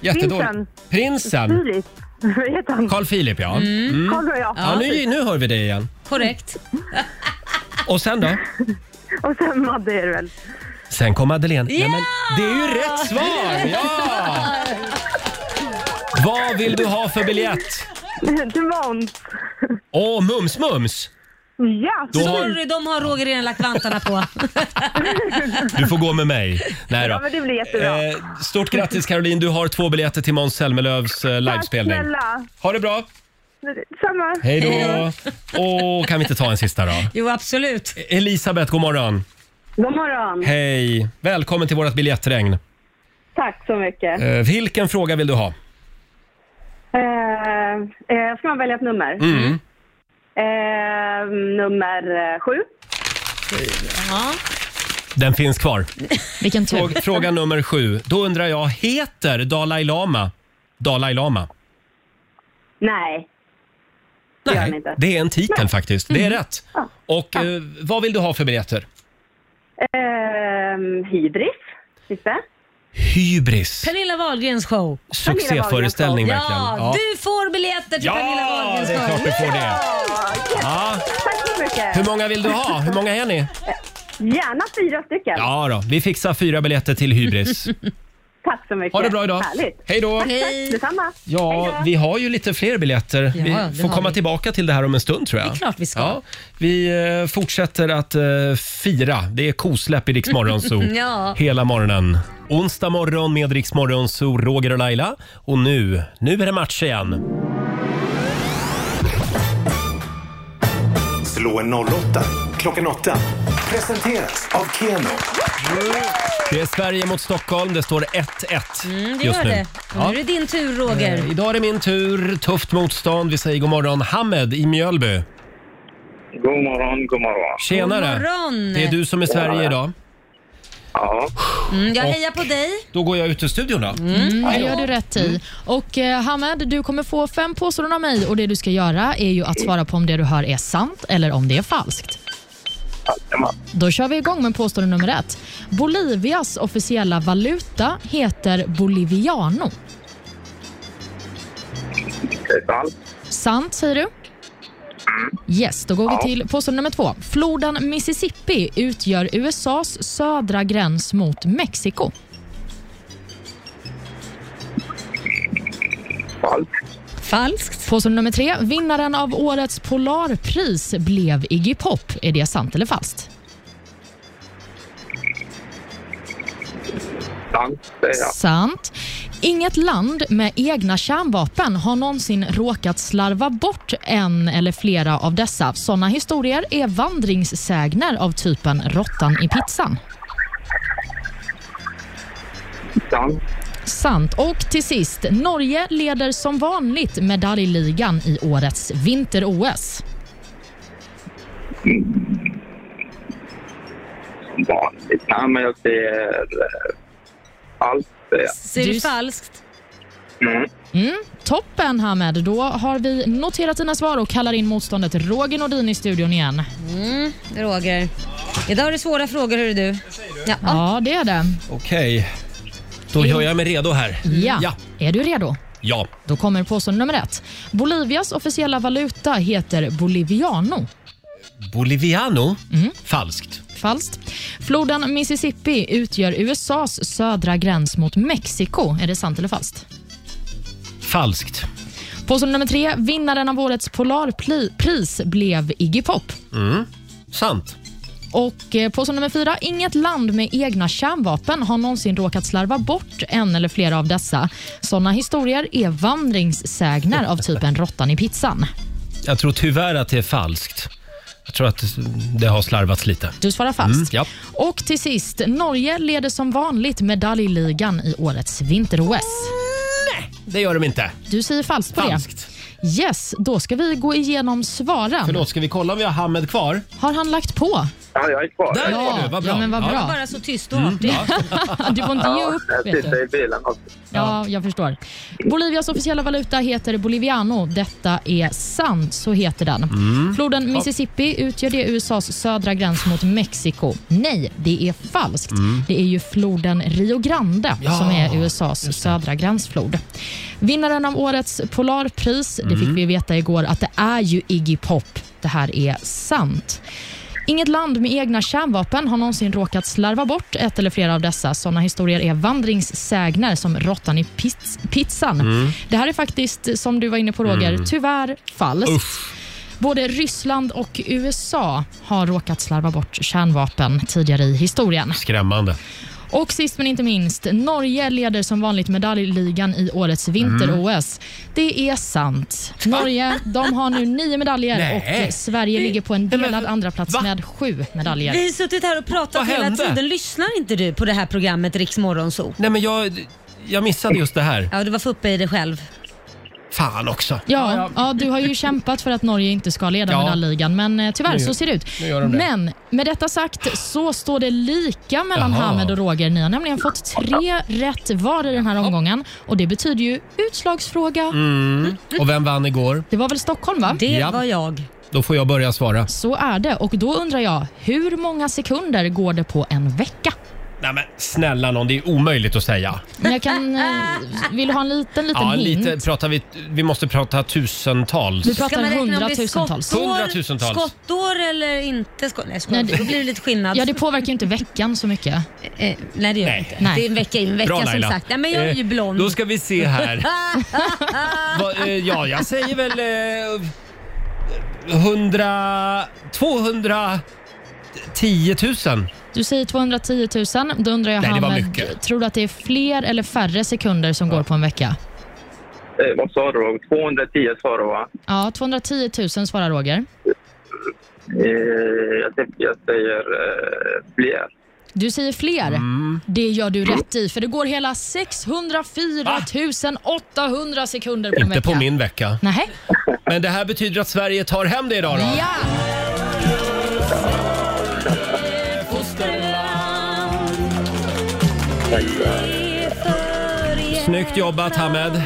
Jättedåligt. Prinsen. Filip. Vet han? Carl Philip, ja. Mm. Carl och jag. ja nu, nu hör vi det igen. Korrekt. Och sen då? Och sen Madde är det väl? Sen kom Madeleine. Nej, men det är ju rätt svar! Ja! Vad vill du ha för biljett? Till Måns. Åh, Mums Mums! Ja, Då har, Sorry, de har Roger redan lagt vantarna på. du får gå med mig. Nej ja, då. men det blir jättebra. Eh, stort grattis Caroline, du har två biljetter till Måns Zelmerlöws eh, livespelning. snälla. Ha det bra! Samma. Hej då! Åh, kan vi inte ta en sista då? Jo, absolut. Elisabeth, god morgon. God morgon. Hej! Välkommen till vårt biljettregn. Tack så mycket. Eh, vilken fråga vill du ha? Eh, eh, ska man välja ett nummer? Mm. Eh, nummer eh, sju. Den finns kvar. Vilken tur. Frå- Fråga nummer sju. Då undrar jag, heter Dalai Lama Dalai Lama? Nej. Det gör han inte. det är en titel faktiskt. Det är rätt. Och eh, vad vill du ha för biljetter? Eh, hybris. Visst det? Hybris. Pernilla Wahlgrens show. Succéföreställning Ja, verkligen. Ja, du får biljetter till Pernilla ja det Wahlgrens är show. klart du får det. Ja. Tack så Hur mycket. många vill du ha? Hur många är ni? Gärna fyra stycken. Ja då, vi fixar fyra biljetter till Hybris. Tack så mycket. Ha det bra idag. Härligt. Hej då. Hej. Detsamma. Ja, vi har ju lite fler biljetter. Ja, det vi får har komma vi. tillbaka till det här om en stund tror jag. Det är klart vi ska. Ja, vi eh, fortsätter att eh, fira. Det är kosläpp i Rix Morgonzoo Ja. hela morgonen. Onsdag morgon med Rix Morgonzoo, Roger och Laila. Och nu, nu är det match igen. Slå en 08 klockan 8. Presenteras av Keno. Det är Sverige mot Stockholm. Det står 1-1 Mm, det just gör nu. det. Och Ja. Nu är det din tur Roger. Eh, Idag är det min tur. Tufft motstånd. Vi säger god morgon Hamed i Mjölby. God morgon, god morgon. Tjenare! God morgon. Det är du som är Sverige idag. Ja. Mm, jag hejar på dig. Då går jag ut ur studion då. Mm, det gör du rätt i. Och eh, Hamed, du kommer få fem påståenden av mig och det du ska göra är ju att svara på om det du hör är sant eller om det är falskt. Då kör vi igång med påstående nummer ett. Bolivias officiella valuta heter boliviano. Falskt. Sant, säger du? Yes, då går vi till påstående nummer två. Floden Mississippi utgör USAs södra gräns mot Mexiko. Falskt. Falskt. Påstående nummer tre. Vinnaren av årets Polarpris blev Iggy Pop. Är det sant eller falskt? Sant. Det är jag. Sant. Inget land med egna kärnvapen har någonsin råkat slarva bort en eller flera av dessa. Sådana historier är vandringssägner av typen råttan i pizzan. Sant. Sant. Och till sist, Norge leder som vanligt medaljligan i årets vinter-OS. Vanligt. Nej, men jag säger eh, falskt. Det är jag. Ser du Du- falskt? Mm. Toppen Hamed, då har vi noterat dina svar och kallar in motståndet Roger Nordin i studion igen. Roger. Idag är det svåra frågor hör du. Ja. Ja, det är det. Okej, då gör jag mig redo här. Mm. Ja. Ja. Är du redo? Ja. Då kommer påstående nummer ett. Bolivias officiella valuta heter boliviano. Boliviano? Mm. Falskt. Falskt. Floden Mississippi utgör USAs södra gräns mot Mexiko. Är det sant eller falskt? Falskt. Påstående nummer tre. Vinnaren av årets Polarpris blev Iggy Pop. Sant. Och eh, påstående nummer fyra. Inget land med egna kärnvapen har någonsin råkat slarva bort en eller flera av dessa. Sådana historier är vandringssägner av typen råttan i pizzan. Jag tror tyvärr att det är falskt. Jag tror att det har slarvats lite. Mm. Du svarar falskt. ja. Och till sist, Norge leder som vanligt medaljligan i årets vinter-OS. Det gör de inte. Du säger falskt på Falskt. det. Yes, då ska vi gå igenom svaren. Förlåt, ska vi kolla om vi har Hamed kvar? Har han lagt på? Ja, jag är kvar. Där Jag är var kvar. du, vad bra. Ja, men vad Det bra. var bara så tyst och Mm. artig. Du får inte ge Ja, upp. jag Vet du. sitter i bilen också. Ja, jag förstår. Bolivias officiella valuta heter boliviano. Detta är sant, så heter den. Floden Mississippi utgör det USAs södra gräns mot Mexiko. Nej, det är falskt. Det är ju floden Rio Grande som är USAs södra gränsflod. Vinnaren av årets Polarpris, det fick vi veta igår att det är ju Iggy Pop. Det här är sant. Inget land med egna kärnvapen har någonsin råkat slarva bort ett eller flera av dessa. Sådana historier är vandringssägner som råttan i piz- pizzan. Det här är faktiskt, som du var inne på Roger, tyvärr falskt. Både Ryssland och USA har råkat slarva bort kärnvapen tidigare i historien. Skrämmande. Och sist men inte minst, Norge leder som vanligt medaljligan i årets vinter-OS. Mm. Det är sant. Norge de har nu nio medaljer Nej. och eh, Sverige ligger på en men- delad andra plats Va? med sju medaljer. Vi har suttit här och pratat Vad hela hände? tiden. Lyssnar inte du på det här programmet Riks Morgonzoo? Nej, men jag, jag missade just det här. Ja, du var för uppe i det själv. Fan också. Ja, ja. du har ju kämpat för att Norge inte ska leda Ja. medaljligan, men eh, tyvärr Nu gör- så ser det ut. nu gör de det. Men med detta sagt så står det lika mellan Jaha. Hamed och Roger. Ni har nämligen fått tre rätt var i den här omgången och det betyder ju utslagsfråga. Mm. Och vem vann igår? Det var väl Stockholm, va? Det Ja. var jag. Då får jag börja svara. Så är det. Och då undrar jag, hur många sekunder går det på en vecka? Nej men snälla någon, det är omöjligt att säga. Men jag kan, eh, vill du ha en liten, liten Ja, hint? lite, pratar vi, vi måste prata tusentals. Vi pratar Ska man räkna om det är hundratusentals. skottår- Hundratusentals. Skottår eller inte skottår? Nej, skottår. Nej, det- Då blir det lite skillnad. Ja, det påverkar ju inte veckan så mycket. Eh, nej, det gör Nej. det inte. Det är en vecka in, en vecka Bra som Laila. sagt. Nej, men jag är ju Eh, blond. Då ska vi se här. Va, eh, ja, jag säger väl... Eh, 100... 210 000. Du säger 210 000. Då undrar jag, Nej, det var Hamed, mycket. tror du att det är fler eller färre sekunder som går på en vecka? Eh, Vad sa du? Roger? 210 sa du, va? Ja, 210 000 svarar Roger. Eh, Jag, tycker jag säger eh, fler. Du säger fler. Mm. Det gör du rätt i, för det går hela 604 800 sekunder på en Inte vecka. på min vecka. Nej. Men det här betyder att Sverige tar hem det idag då. Ja! Snyggt jobbat Hamed.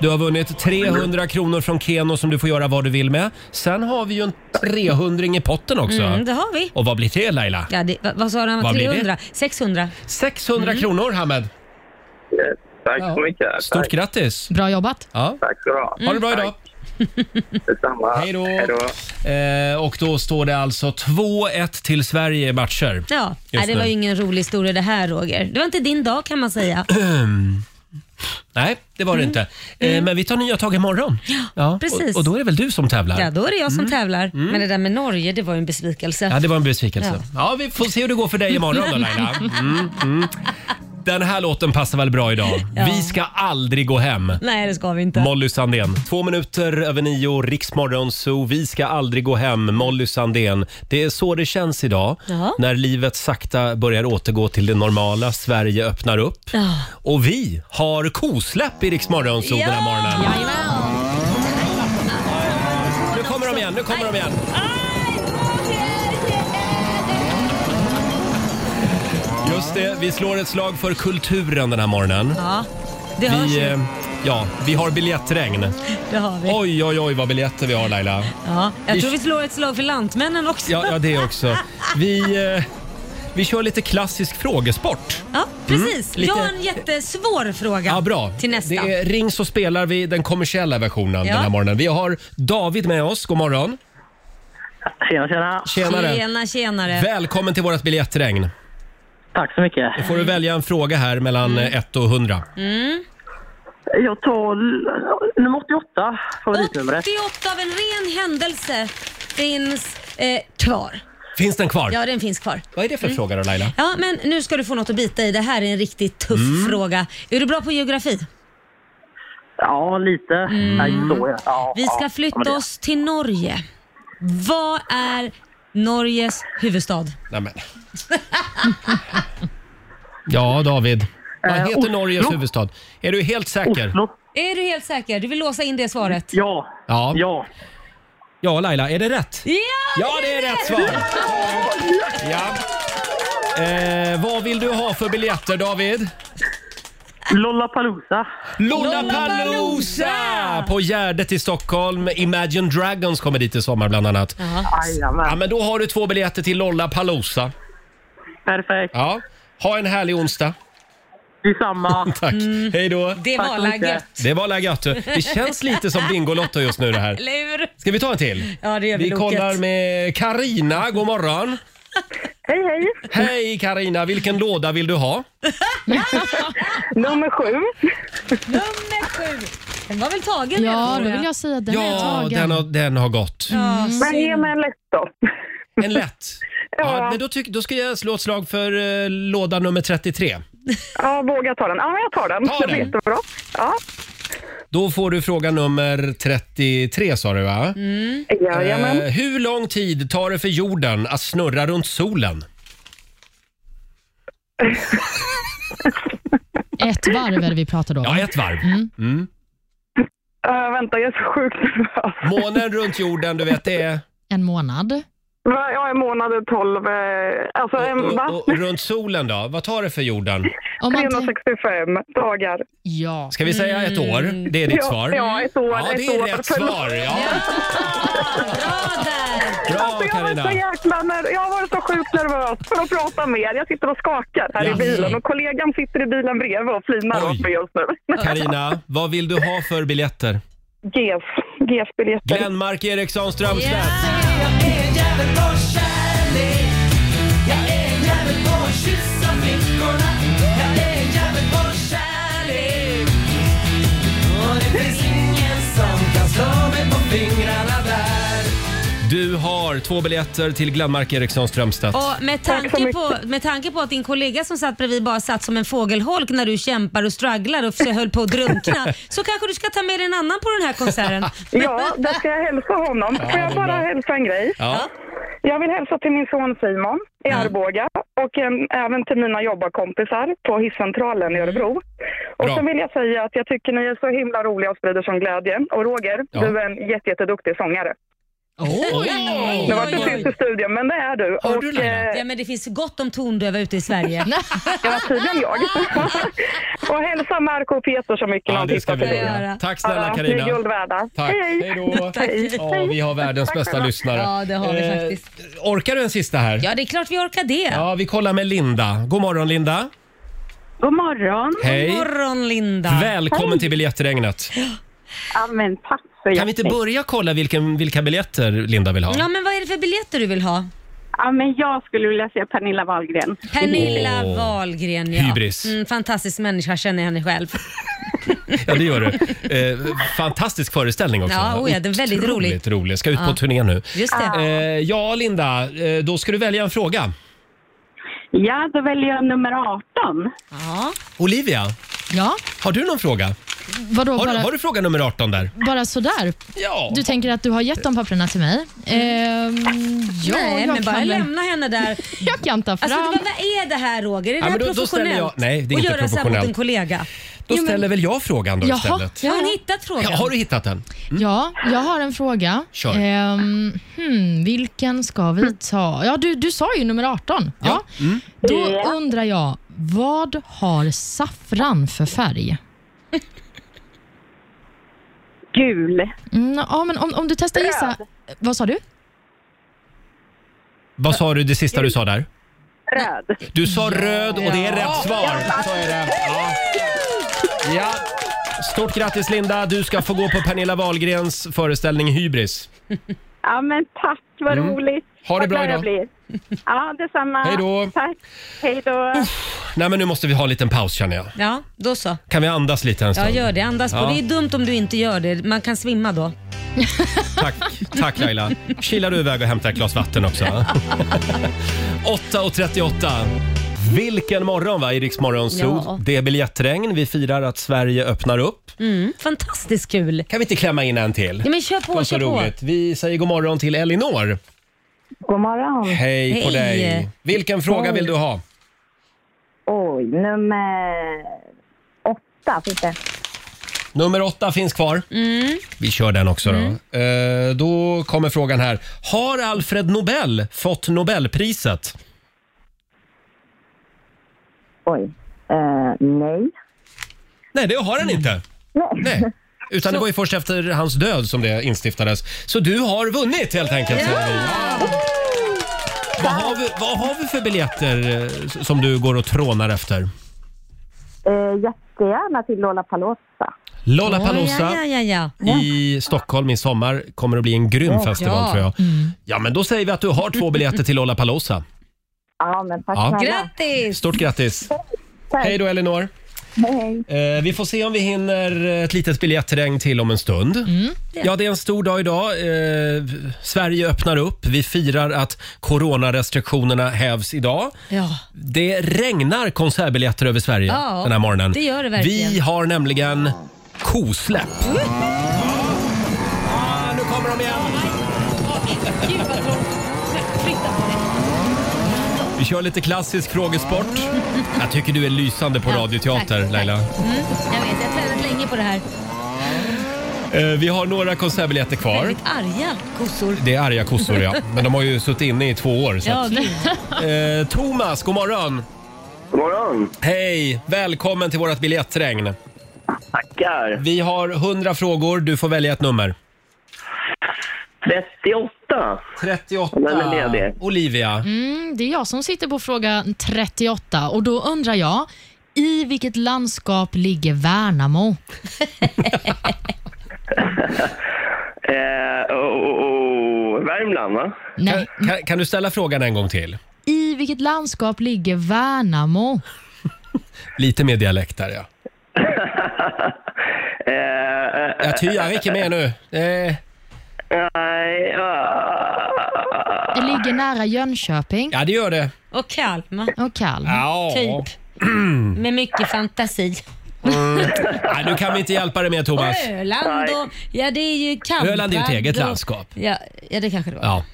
Du har vunnit 300 kronor från Keno som du får göra vad du vill med. Sen har vi ju en 300 i potten också. Mm, det har vi. Och vad blir det Laila? Ja, det, vad, vad sa han? Vad blir det? 300? 600? 600 Mm. kronor Hamed. Eh, Tack så mycket. Stort tack, grattis! Bra jobbat. Ja. tack så bra. Ha det Mm. bra idag! Detsamma. Hej då. Eh, och då står det alltså 2-1 till Sverige i matcher. Ja, nej, det nu. var ju ingen rolig historia det här Roger. Det var inte din dag kan man säga. Nej, det var det inte. Eh, Men vi tar nya tag imorgon. Ja, precis. Och, och då är det väl du som tävlar? Ja, Ja, då är det jag som tävlar. Men det där med Norge, det var ju en besvikelse. det var en besvikelse. Mm. Ja. Ja. vi får se hur det går för dig imorgon då Laila. Mm, mm. Den här låten passar väl bra idag. Ja. Vi ska aldrig gå hem. Nej, det ska vi inte. Molly Sandén. Två minuter över nio, Riksmorgon så Vi ska aldrig gå hem, Molly Sandén. Det är så det känns idag Ja. när livet sakta börjar återgå till det normala. Sverige öppnar upp. Ja. Och vi har kosläpp i Riksmorgon så den här morgonen. Jajamän. Nu kommer de igen, nu kommer de igen. Just det, vi slår ett slag för kulturen den här morgonen. Ja, det hörs Vi, ju. eh, ja, vi har biljettregn. Det har vi. Oj, oj, oj vad biljetter vi har Laila. Ja, vi- jag tror vi slår ett slag för Lantmännen också. Ja, ja det också. Vi, eh, vi kör lite klassisk frågesport. Ja, precis. Mm. lite- Jag har en jättesvår fråga Ja, bra. till nästa. Det är ring så spelar vi den kommersiella versionen Ja. den här morgonen. Vi har David med oss. God morgon. Tjena, tjena. Tjenare. Tjena, tjenare. Välkommen till vårt biljettregn. Tack så mycket. Då får du välja en fråga här mellan 1 och 100. Jag tar l- nummer 88, favoritnumret. 88 av en ren händelse finns eh, kvar. Finns den kvar? Ja, den finns kvar. Vad är det för fråga då Laila? Ja, men nu ska du få något att bita i. Det här är en riktigt tuff fråga. Är du bra på geografi? Ja, lite. Mm. Nej, så ja. ja. Vi ska ja, ja, men flytta det- oss till Norge. Vad är Norges huvudstad? Nej, men. Ja, David. Vad Eh, heter Oslo. Norges huvudstad? Är du helt säker? Oslo. Är du helt säker? Du vill låsa in det svaret? Ja. Ja. Ja. ja, Laila, är det rätt? Ja! Ja, det är rätt svar! Ja. Eh, vad vill du ha för biljetter David? Lollapalooza. Lollapalooza! På Gärdet i Stockholm. Imagine Dragons kommer dit i sommar bland annat. Ja, men då har du två biljetter till Lollapalooza. Perfekt. Ja. Ha en härlig onsdag. Detsamma. Tack. Hej då. Det var la gött. Det var la gött. du. Det känns lite som Bingolotto just nu det här. Eller hur? Ska vi ta en till? Ja, det gör vi. Vi Loket. kollar med Karina. God morgon. Hej, hej. Hej Karina, vilken låda vill du ha? Nummer sju. Nummer sju. Den var väl tagen Ja, redan, då tror vill jag. jag Mm. säga att den är ja, tagen. den har, den har gått. Ja, Men ge synd. mig en lätt då. En lätt. Ja. men då, tyck, då ska jag slå ett slag för eh, låda nummer 33. Ja, våga ta den. Ja, men jag tar den. Ta det den. blir jättebra. Ja. Då får du fråga nummer 33 sa du va? Mm. Jajamän. Eh, hur lång tid tar det för jorden att snurra runt solen? Ett varv är det vi pratar då. Ja, ett varv. Mm. Eh. Äh, vänta, jag är så sjukt nervös. Månen runt jorden, du vet det är... En månad. Va, Jag är månaden 12. eh, Alltså, en- va? Och, och runt solen då? Vad tar det för jorden? 365 dagar. Ja. Ska vi säga ett år? Det är ditt ja, svar. Ja, ett år. Ja, ett det är år. rätt Förlåt. svar. Ja. Bra Alltså, jag var Carina. så jäkla ner- jag har varit så sjukt nervös för att prata med er. Jag sitter och skakar här Jaså. i bilen och kollegan sitter i bilen bredvid och flinar Oj. åt mig just nu. Carina, vad vill du ha för biljetter? GES. GES-biljetter. Glenmark Eriksson Strömstedt. Du har två biljetter till Glenmark Eriksson Strömstedt. Och med, tanke på, med tanke på att din kollega som satt bredvid bara satt som en fågelholk när du kämpar och strugglar och försö- höll på att drunkna så kanske du ska ta med dig en annan på den här konserten. Ja, där ska jag hälsa honom. Får jag bara hälsa en grej? Ja. Jag vill hälsa till min son Simon i Arboga och en, även till mina jobbarkompisar på Hisscentralen i Örebro. Och Mm. Bra. så vill jag säga att jag tycker ni är så himla roliga och sprider sån glädje. Och Roger, Ja. du är en jätte, jätteduktig sångare. Oj! Nu vart det tyst i studion, men det är du. Har och, du eh, Ja, men det finns gott om tondöva ute i Sverige. ja, tydligen jag. och hälsa Marco och Peter så mycket när Ja, de det ska tittar vi på dig. göra. Tack snälla Ja, ni är guld Carina. värda. Tack. Hej, Hej då. Ja, vi har världens bästa lyssnare. Ja, det har vi Eh, faktiskt. Orkar du en sista här? Ja, det är klart vi orkar det. Ja, vi kollar med Linda. God morgon Linda. God morgon. Hej. God morgon Linda. Välkommen till biljettregnet. Ja, men tack så Kan vi inte börja kolla vilken, vilka biljetter Linda vill ha? Ja, men vad är det för biljetter du vill ha? Ja, men jag skulle vilja se Pernilla Wahlgren. Pernilla Åh. Wahlgren, ja. Hybris. Mm, fantastisk människa, känner jag henne själv. Ja, det gör du. Eh, fantastisk föreställning också. Ja, oh ja, det är väldigt Otroligt rolig. Ska ut på Ja. turné nu. Just det. Eh, ja, Linda, eh, då ska du välja en fråga. Ja, då väljer jag nummer 18. Ja. Olivia, Ja, har du någon fråga? vadå Har, bara, har du fråga nummer 18 där? bara sådär? Ja. Du tänker att du har gett de papperna till mig? Ehm, ja, Nej, jag men kan bara väl- lämna henne där. Jag kan ta fram. Alltså, vad, vad är det här Roger? Är det Ja, här men då- då ställer professionellt? jag- Nej, det är Att inte göra så här mot en professionellt. kollega? Då Jo, men- ställer väl jag frågan då Jaha. Mm. istället. Har hon hittat frågan? Ja, har du hittat den? Ja, jag har en fråga. Kör. Mm. Ehm, hmm, vilken ska vi ta? Ja, du, du sa ju nummer 18. Ja. Då undrar jag, vad har saffran för färg? Gul. Mm, ja, men om, om du testar gissa. Vad sa du? Vad sa du det sista du sa där? Röd. Du sa röd och det är rätt svar. Så är det. Ja. ja. Stort grattis Linda, du ska få gå på Pernilla Wahlgrens föreställning Hybris. Ja, men tack. Vad Mm. roligt. Ha det Vad bra glad jag idag. blir. Ja, detsamma. Hej då. Tack. Hej då. Nej men nu måste vi ha en liten paus känner jag. Ja, då så. Kan vi andas lite en stund? Ja, gör det. Andas på. Ja. Det är dumt om du inte gör det. Man kan svimma då. Tack, tack Laila. Kilar du iväg och hämtar ett glas vatten också? 8.38. Vilken morgon va, i Rix Morgon Zoo. Ja. Det är biljettregn. Vi firar att Sverige öppnar upp. Mm, fantastiskt kul. Kan vi inte klämma in en till? Ja, men kör Det var på, så kör på. roligt. Vi säger god morgon till Elinor. God morgon. Hej, på Hej. dig. Vilken fråga Hej. vill du ha? Oj, nummer åtta fick jag. Nummer åtta finns kvar. Vi kör den också då. Eh, då kommer frågan här. Har Alfred Nobel fått Nobelpriset? Oj. Eh, nej. Nej, det har han inte. Nej. Utan det Så- var ju först efter hans död som det instiftades. Så du har vunnit helt enkelt. Vad, har vi, vad har vi för biljetter eh, s- som du går och trånar efter? Eh, jättegärna till Lollapalooza. Lollapalooza ja, ja, ja. i Stockholm i sommar kommer att bli en grym Ja. festival Ja. tror jag. Ja, men då säger vi att du har två biljetter till Lollapalooza. Ja, men tack Ja. snälla. Grattis! Stort grattis! Hej då Elinor! Hej. Eh, vi får se om vi hinner ett litet biljettregn till om en stund. Ja, det är en stor dag idag. Eh, Sverige öppnar upp. Vi firar att coronarestriktionerna hävs idag. Ja. Det regnar konsertbiljetter över Sverige Ja, den här morgonen. det gör det verkligen. Vi har nämligen kosläpp. Ah, nu kommer de igen! Gud vad tråkigt. Flytta på dig. Vi kör lite klassisk frågesport. Jag tycker du är lysande på Ja, radioteater, tack, tack. Laila. Mm, jag vet, jag har tränat länge på det här. Eh, vi har några konsertbiljetter kvar. Väldigt arga kossor. Det är arga kossor, ja. Men de har ju suttit inne i två år. Så. Ja, att- gud. Eh, Thomas, god morgon! God morgon! Hej! Välkommen till vårt biljettregn. Tackar! Vi har 100 frågor. Du får välja ett nummer. 38. 38. Den är ledig. Olivia. Mm, det är jag som sitter på fråga 38 och då undrar jag, i vilket landskap ligger Värnamo? Eh, oh, oh, oh. Värmland, va? Nej. Kan, kan, kan du ställa frågan en gång till? I vilket landskap ligger Värnamo? Lite mer dialekt där, ja. Eh, Jag tyar inte med nu. Eh, Nej, Ah. Det ligger nära Jönköping. Ja, det gör det. Och Kalmar. Och Kalmar. ja. Typ. Med mycket fantasi. Mm. Nej, nu kan vi inte hjälpa dig med, Thomas. Öland och... Ja, det är ju Kalmar. Öland är ju ett eget och- landskap. Ja, ja, det kanske det var. Ja.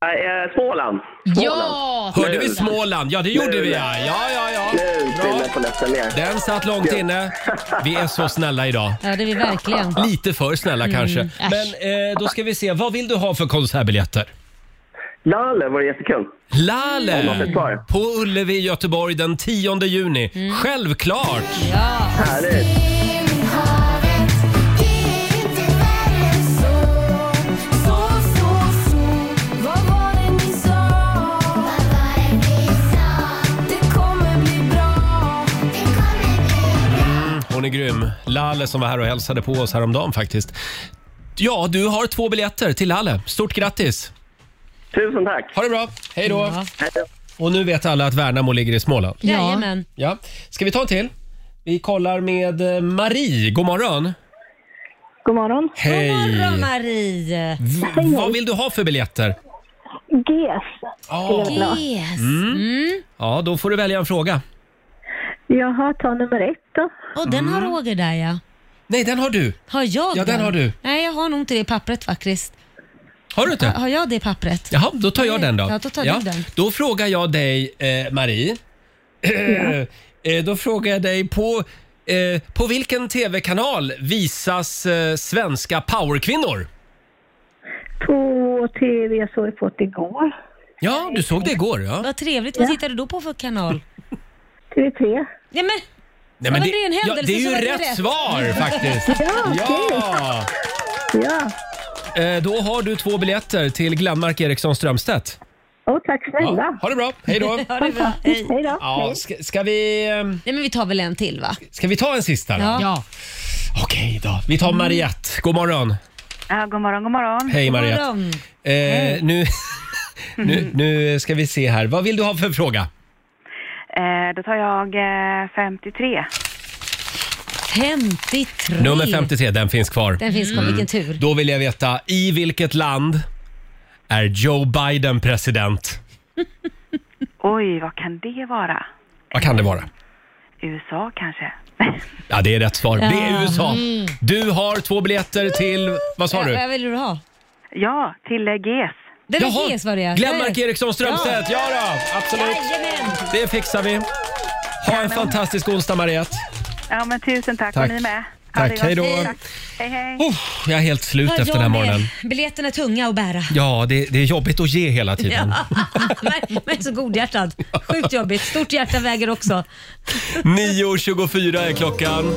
eh, Småland. Ja! Hörde vi Småland? Ja, det gjorde vi ja. Ja, ja, ja. Den satt långt inne. Vi är så snälla idag. Ja, det är vi verkligen. Lite för snälla Mm, kanske. äsch. Men eh, då ska vi se, vad vill du ha för konsertbiljetter? Lale var jättekul. Lale! Om man får svar. På Ullevi i Göteborg den 10 juni. Mm. Självklart! Härligt. Hon är grym. Lale som var här och hälsade på oss häromdagen faktiskt. Ja, du har två biljetter till Lale. Stort grattis! Tusen tack. Ha det bra. Hej då. Och nu vet alla att Värnamo ligger i Småland. Jajamän. Ja. Ska vi ta en till? Vi kollar med eh, Marie. God morgon. God morgon. Hej. Bra, Marie. V- Vad vill du ha för biljetter? GES. Ah. Yes. Mm. Ja, då får du välja en fråga. Jaha, ta nummer ett då. Och den har Mm. Roger där ja. Nej, den har du. Har jag Ja, den har du. Nej, jag har nog inte det pappret faktiskt. Har du inte? Har, har jag det pappret? Jaha, då tar jag den då. Ja, då tar du den. Då frågar jag dig, eh, Marie. Eh, då frågar jag dig på, eh, på vilken tv-kanal visas eh, svenska powerkvinnor? På tv såg jag på det igår. Ja, du såg det igår ja. Vad trevligt. Vad tittar du då på för kanal? TV3. Ja, men, Nej, men det, Ja, men det är en ja, det händelse är så ju var det rätt, rätt. svar faktiskt. Ja, okej. ja. Ja. Eh, Då har du två biljetter till Glenmark Eriksson Strömstedt. Åh, tack snälla. Ja, ha det bra. Hej då. ha det bra. Hej. Hej då. Ja, ska, ska, vi, eh, Nej, men vi tar väl en till va? ska vi ta en sista då? Ja. Ja. Okej då. Vi tar Mariette. God morgon. Ja, god morgon, god morgon. Hej, Mariette. God Eh, nu, nu, nu ska vi se här. Vad vill du ha för fråga? Eh, då tar jag eh, 53. 53. Nummer 53, den finns kvar. Den finns kvar, vilken tur. Då vill jag veta, i vilket land är Joe Biden president? Oj, vad kan det vara? Vad kan det vara? USA kanske? Ja, det är rätt svar. Det Ja. är USA. Mm. Du har två biljetter till... Vad sa du? vill du ha? Ja, till eh, GES. Den är Jaha, GES var det, ja. Glenmark Ja. Eriksson Strömstedt. Ja då, absolut. Det fixar vi. Ha en fantastisk onsdag, Mariette. Ja, men tusen tack. Tack. Och ni med. Tack, hej då. Oh, Hej, hej. Jag är helt slut efter den här morgonen. Biljetterna är tunga att bära. Ja, det, det är jobbigt att ge hela tiden. men, men så godhjärtad. Sjukt jobbigt. Stort hjärta väger också. 9.24 är klockan.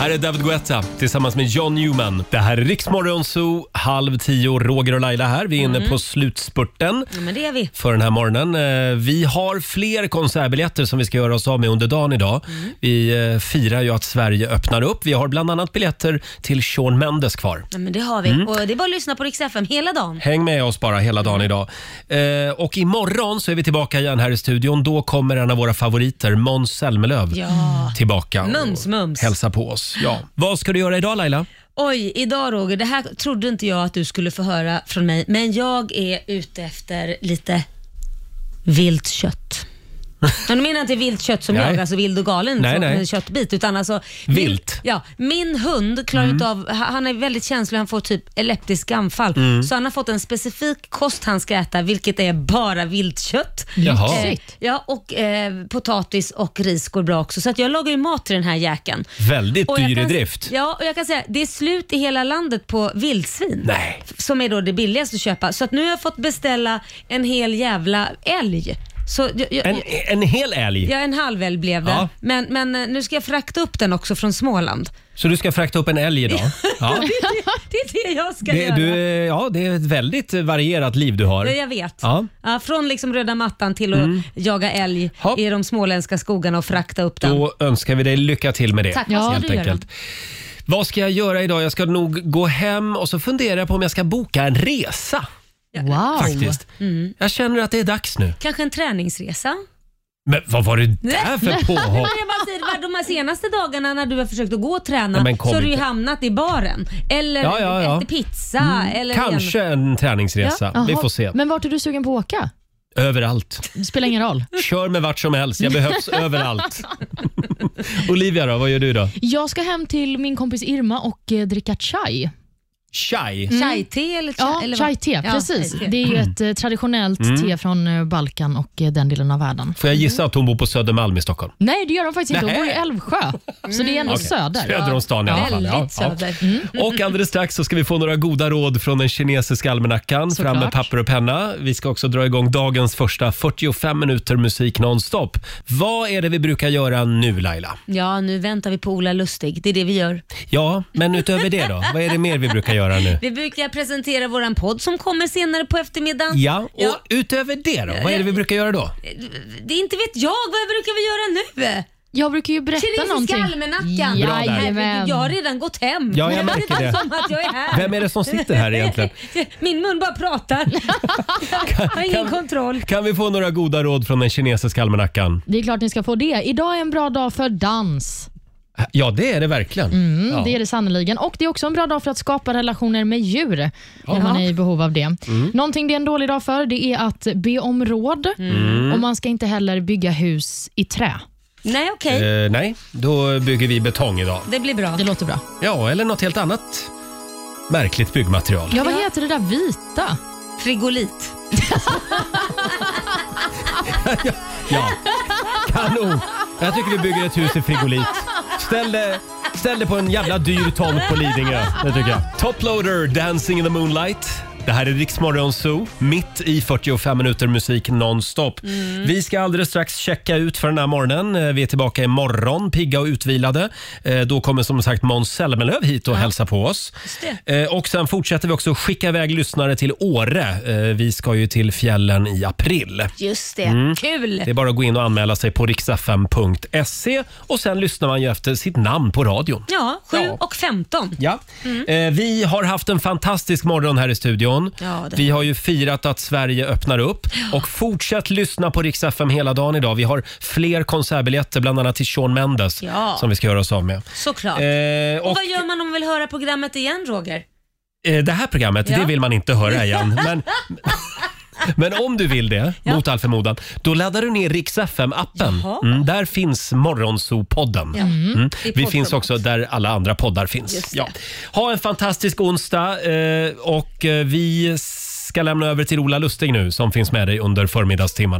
Här är David Guetta tillsammans med John Newman. Det här är Riksmorgon Zoo, halv tio. Roger och Laila här. Vi är inne Mm. på slutspurten Ja, men det är vi. för den här morgonen. Eh, Vi har fler konsertbiljetter som vi ska göra oss av med under dagen idag. Mm. Vi eh, firar ju att Sverige öppnar upp. Vi har bland annat biljetter till Shawn Mendes kvar. Ja, men det har vi. Mm. Och det är bara att lyssna på Rix FM hela dagen. Häng med oss bara hela dagen idag. Eh, och imorgon så är vi tillbaka igen här i studion. Då kommer en av våra favoriter, Måns Zelmerlöw, Ja. tillbaka och Mums, mums. Mm. hälsa på oss. Ja. Vad ska du göra idag Laila? Oj, idag Roger, det här trodde inte jag att du skulle få höra från mig, men jag är ute efter lite vilt kött. Men nu menar jag inte vilt kött som Nej. jag, alltså vild och galen Nej, som nej. en köttbit, utan alltså Vilt. Ja, min hund klarar Mm. inte av, han är väldigt känslig, han får typ elektriska anfall. Mm. Så han har fått en specifik kost han ska äta, vilket är bara viltkött. Jaha. Eh, ja, och eh, potatis och ris går bra också. Så att jag lagar ju mat till den här jäkeln. Väldigt Och jag dyr i kan- drift. Ja, och jag kan säga det är slut i hela landet på vildsvin. Nej. F- Som är då det billigaste att köpa. Så att nu har jag fått beställa en hel jävla älg. Så jag, jag, En, en hel älg. Ja, en halv älg blev det. Ja. Men, men eh, nu ska jag frakta upp den också från Småland. Så du ska frakta upp en älg idag? Ja. det är det jag ska Det, göra. du, eh, ja, det är ett väldigt eh, varierat liv du har. Ja, jag vet. Ja. Ja, från liksom röda mattan till att Mm. jaga älg i de småländska skogarna och frakta upp den. Då önskar vi dig lycka till med det. Tack, vad ska helt du göra? enkelt. Vad ska jag göra idag? Jag ska nog gå hem och så fundera på om jag ska boka en resa. Wow. Faktiskt. Mm. Jag känner att det är dags nu. Kanske en träningsresa? Men vad var det där för Nej, men påhopp? jag bara säger, vad- de här senaste dagarna när du har försökt att gå och träna Nej, men kom så har du ju inte. hamnat i baren. Eller Ja, ja, ja. Mm, ätit pizza. Eller Kanske en träningsresa. Vi får se. Men vart är du sugen på att åka? Överallt. Det spelar ingen roll. Kör mig vart som helst. Jag behövs överallt. Olivia då, vad gör du idag? Jag ska hem till min kompis Irma och eh, dricka chai. Chai. Chai-te eller chai- Mm. Ja, eller vad? chai-te. Ja, Precis. chai-te. det är ju ett eh, traditionellt Mm. te från eh, Balkan och eh, den delen av världen. Får jag gissa att hon bor på Södermalm i Stockholm? Nej, det gör de faktiskt inte. Hon Nähä. bor i Älvsjö, så det är ändå Okej. söder. Söder om stan i alla fall. Väldigt Ja, ja. söder. Mm. Och alldeles strax så ska vi få några goda råd från den kinesiska almanackan. Fram med Såklart. papper och penna. Vi ska också dra igång dagens första 45 minuter musik nonstop. Vad är det vi brukar göra nu Laila? Ja, nu väntar vi på Ola Lustig. Det är det vi gör. Ja, men utöver det då? Vad är det mer vi brukar göra nu? Vi brukar presentera våran podd som kommer senare på eftermiddagen. Ja, och utöver det då? Vad är det vi brukar göra då? Det är inte vet jag, vad brukar vi göra nu? Jag brukar ju berätta Kinesiska någonting. almanackan. Bra där. Herregud, Jag har redan gått hem. Ja, jag märker är det. som att jag är här. Vem är det som sitter här egentligen? Min mun bara pratar. Jag har ingen kontroll. Kan vi få några goda råd från den kinesiska almanackan? Det är klart ni ska få det. Idag är en bra dag för dans. Ja, det är det verkligen. Mm, ja. Det är det sannerligen. Och det är också en bra dag för att skapa relationer med djur, om man är i behov av det. Någonting det är en dålig dag för, det är att be om råd. Mm. Och man ska inte heller bygga hus i trä. Nej, okej. Eh, nej, då bygger vi betong idag. Det blir bra. Det låter bra. Ja, eller något helt annat märkligt byggmaterial. Ja, vad heter det där vita? Frigolit. Ja, kanon. Jag tycker vi bygger ett hus i frigolit. Ställ det, ställ det på en jävla dyr tomt på Lidingö. Det tycker jag. Toploader, Dancing in the moonlight. Det här är Riksmorgon Zoo, mitt i 45 minuter musik nonstop. Vi ska alldeles strax checka ut för den här morgonen. Eh, Vi är tillbaka imorgon, pigga och utvilade. Eh, Då kommer som sagt Måns Zelmerlöw hit och hälsa på oss. Eh, Och sen fortsätter vi också skicka iväg lyssnare till Åre. Eh, Vi ska ju till fjällen i april. Just det. Mm. Kul. Det är bara att gå in och anmäla sig på riksfm.se och sen lyssnar man ju efter sitt namn på radion. Ja, 7 och 15. Ja. Mm. Eh, vi har haft en fantastisk morgon här i studion. Ja, det- vi har ju firat att Sverige öppnar upp. Och fortsätt lyssna på Rix FM hela dagen idag. Vi har fler konsertbiljetter, bland annat till Shawn Mendes, Ja. som vi ska göra oss av med. Såklart. Eh, och, och- vad gör man om man vill höra programmet igen, Roger? Eh, det här programmet, Ja. det vill man inte höra igen. Men, men om du vill det, mot all förmodan, då laddar du ner Rix FM-appen. Jaha. Mm, där finns Morgonzoo-podden. Ja. Mm. Det Vi är poddformat. finns också där alla andra poddar Just finns. det. Ja. Ha en fantastisk onsdag eh, och eh, vi ska lämna över till Ola Lustig nu som finns med dig under förmiddagstimmarna.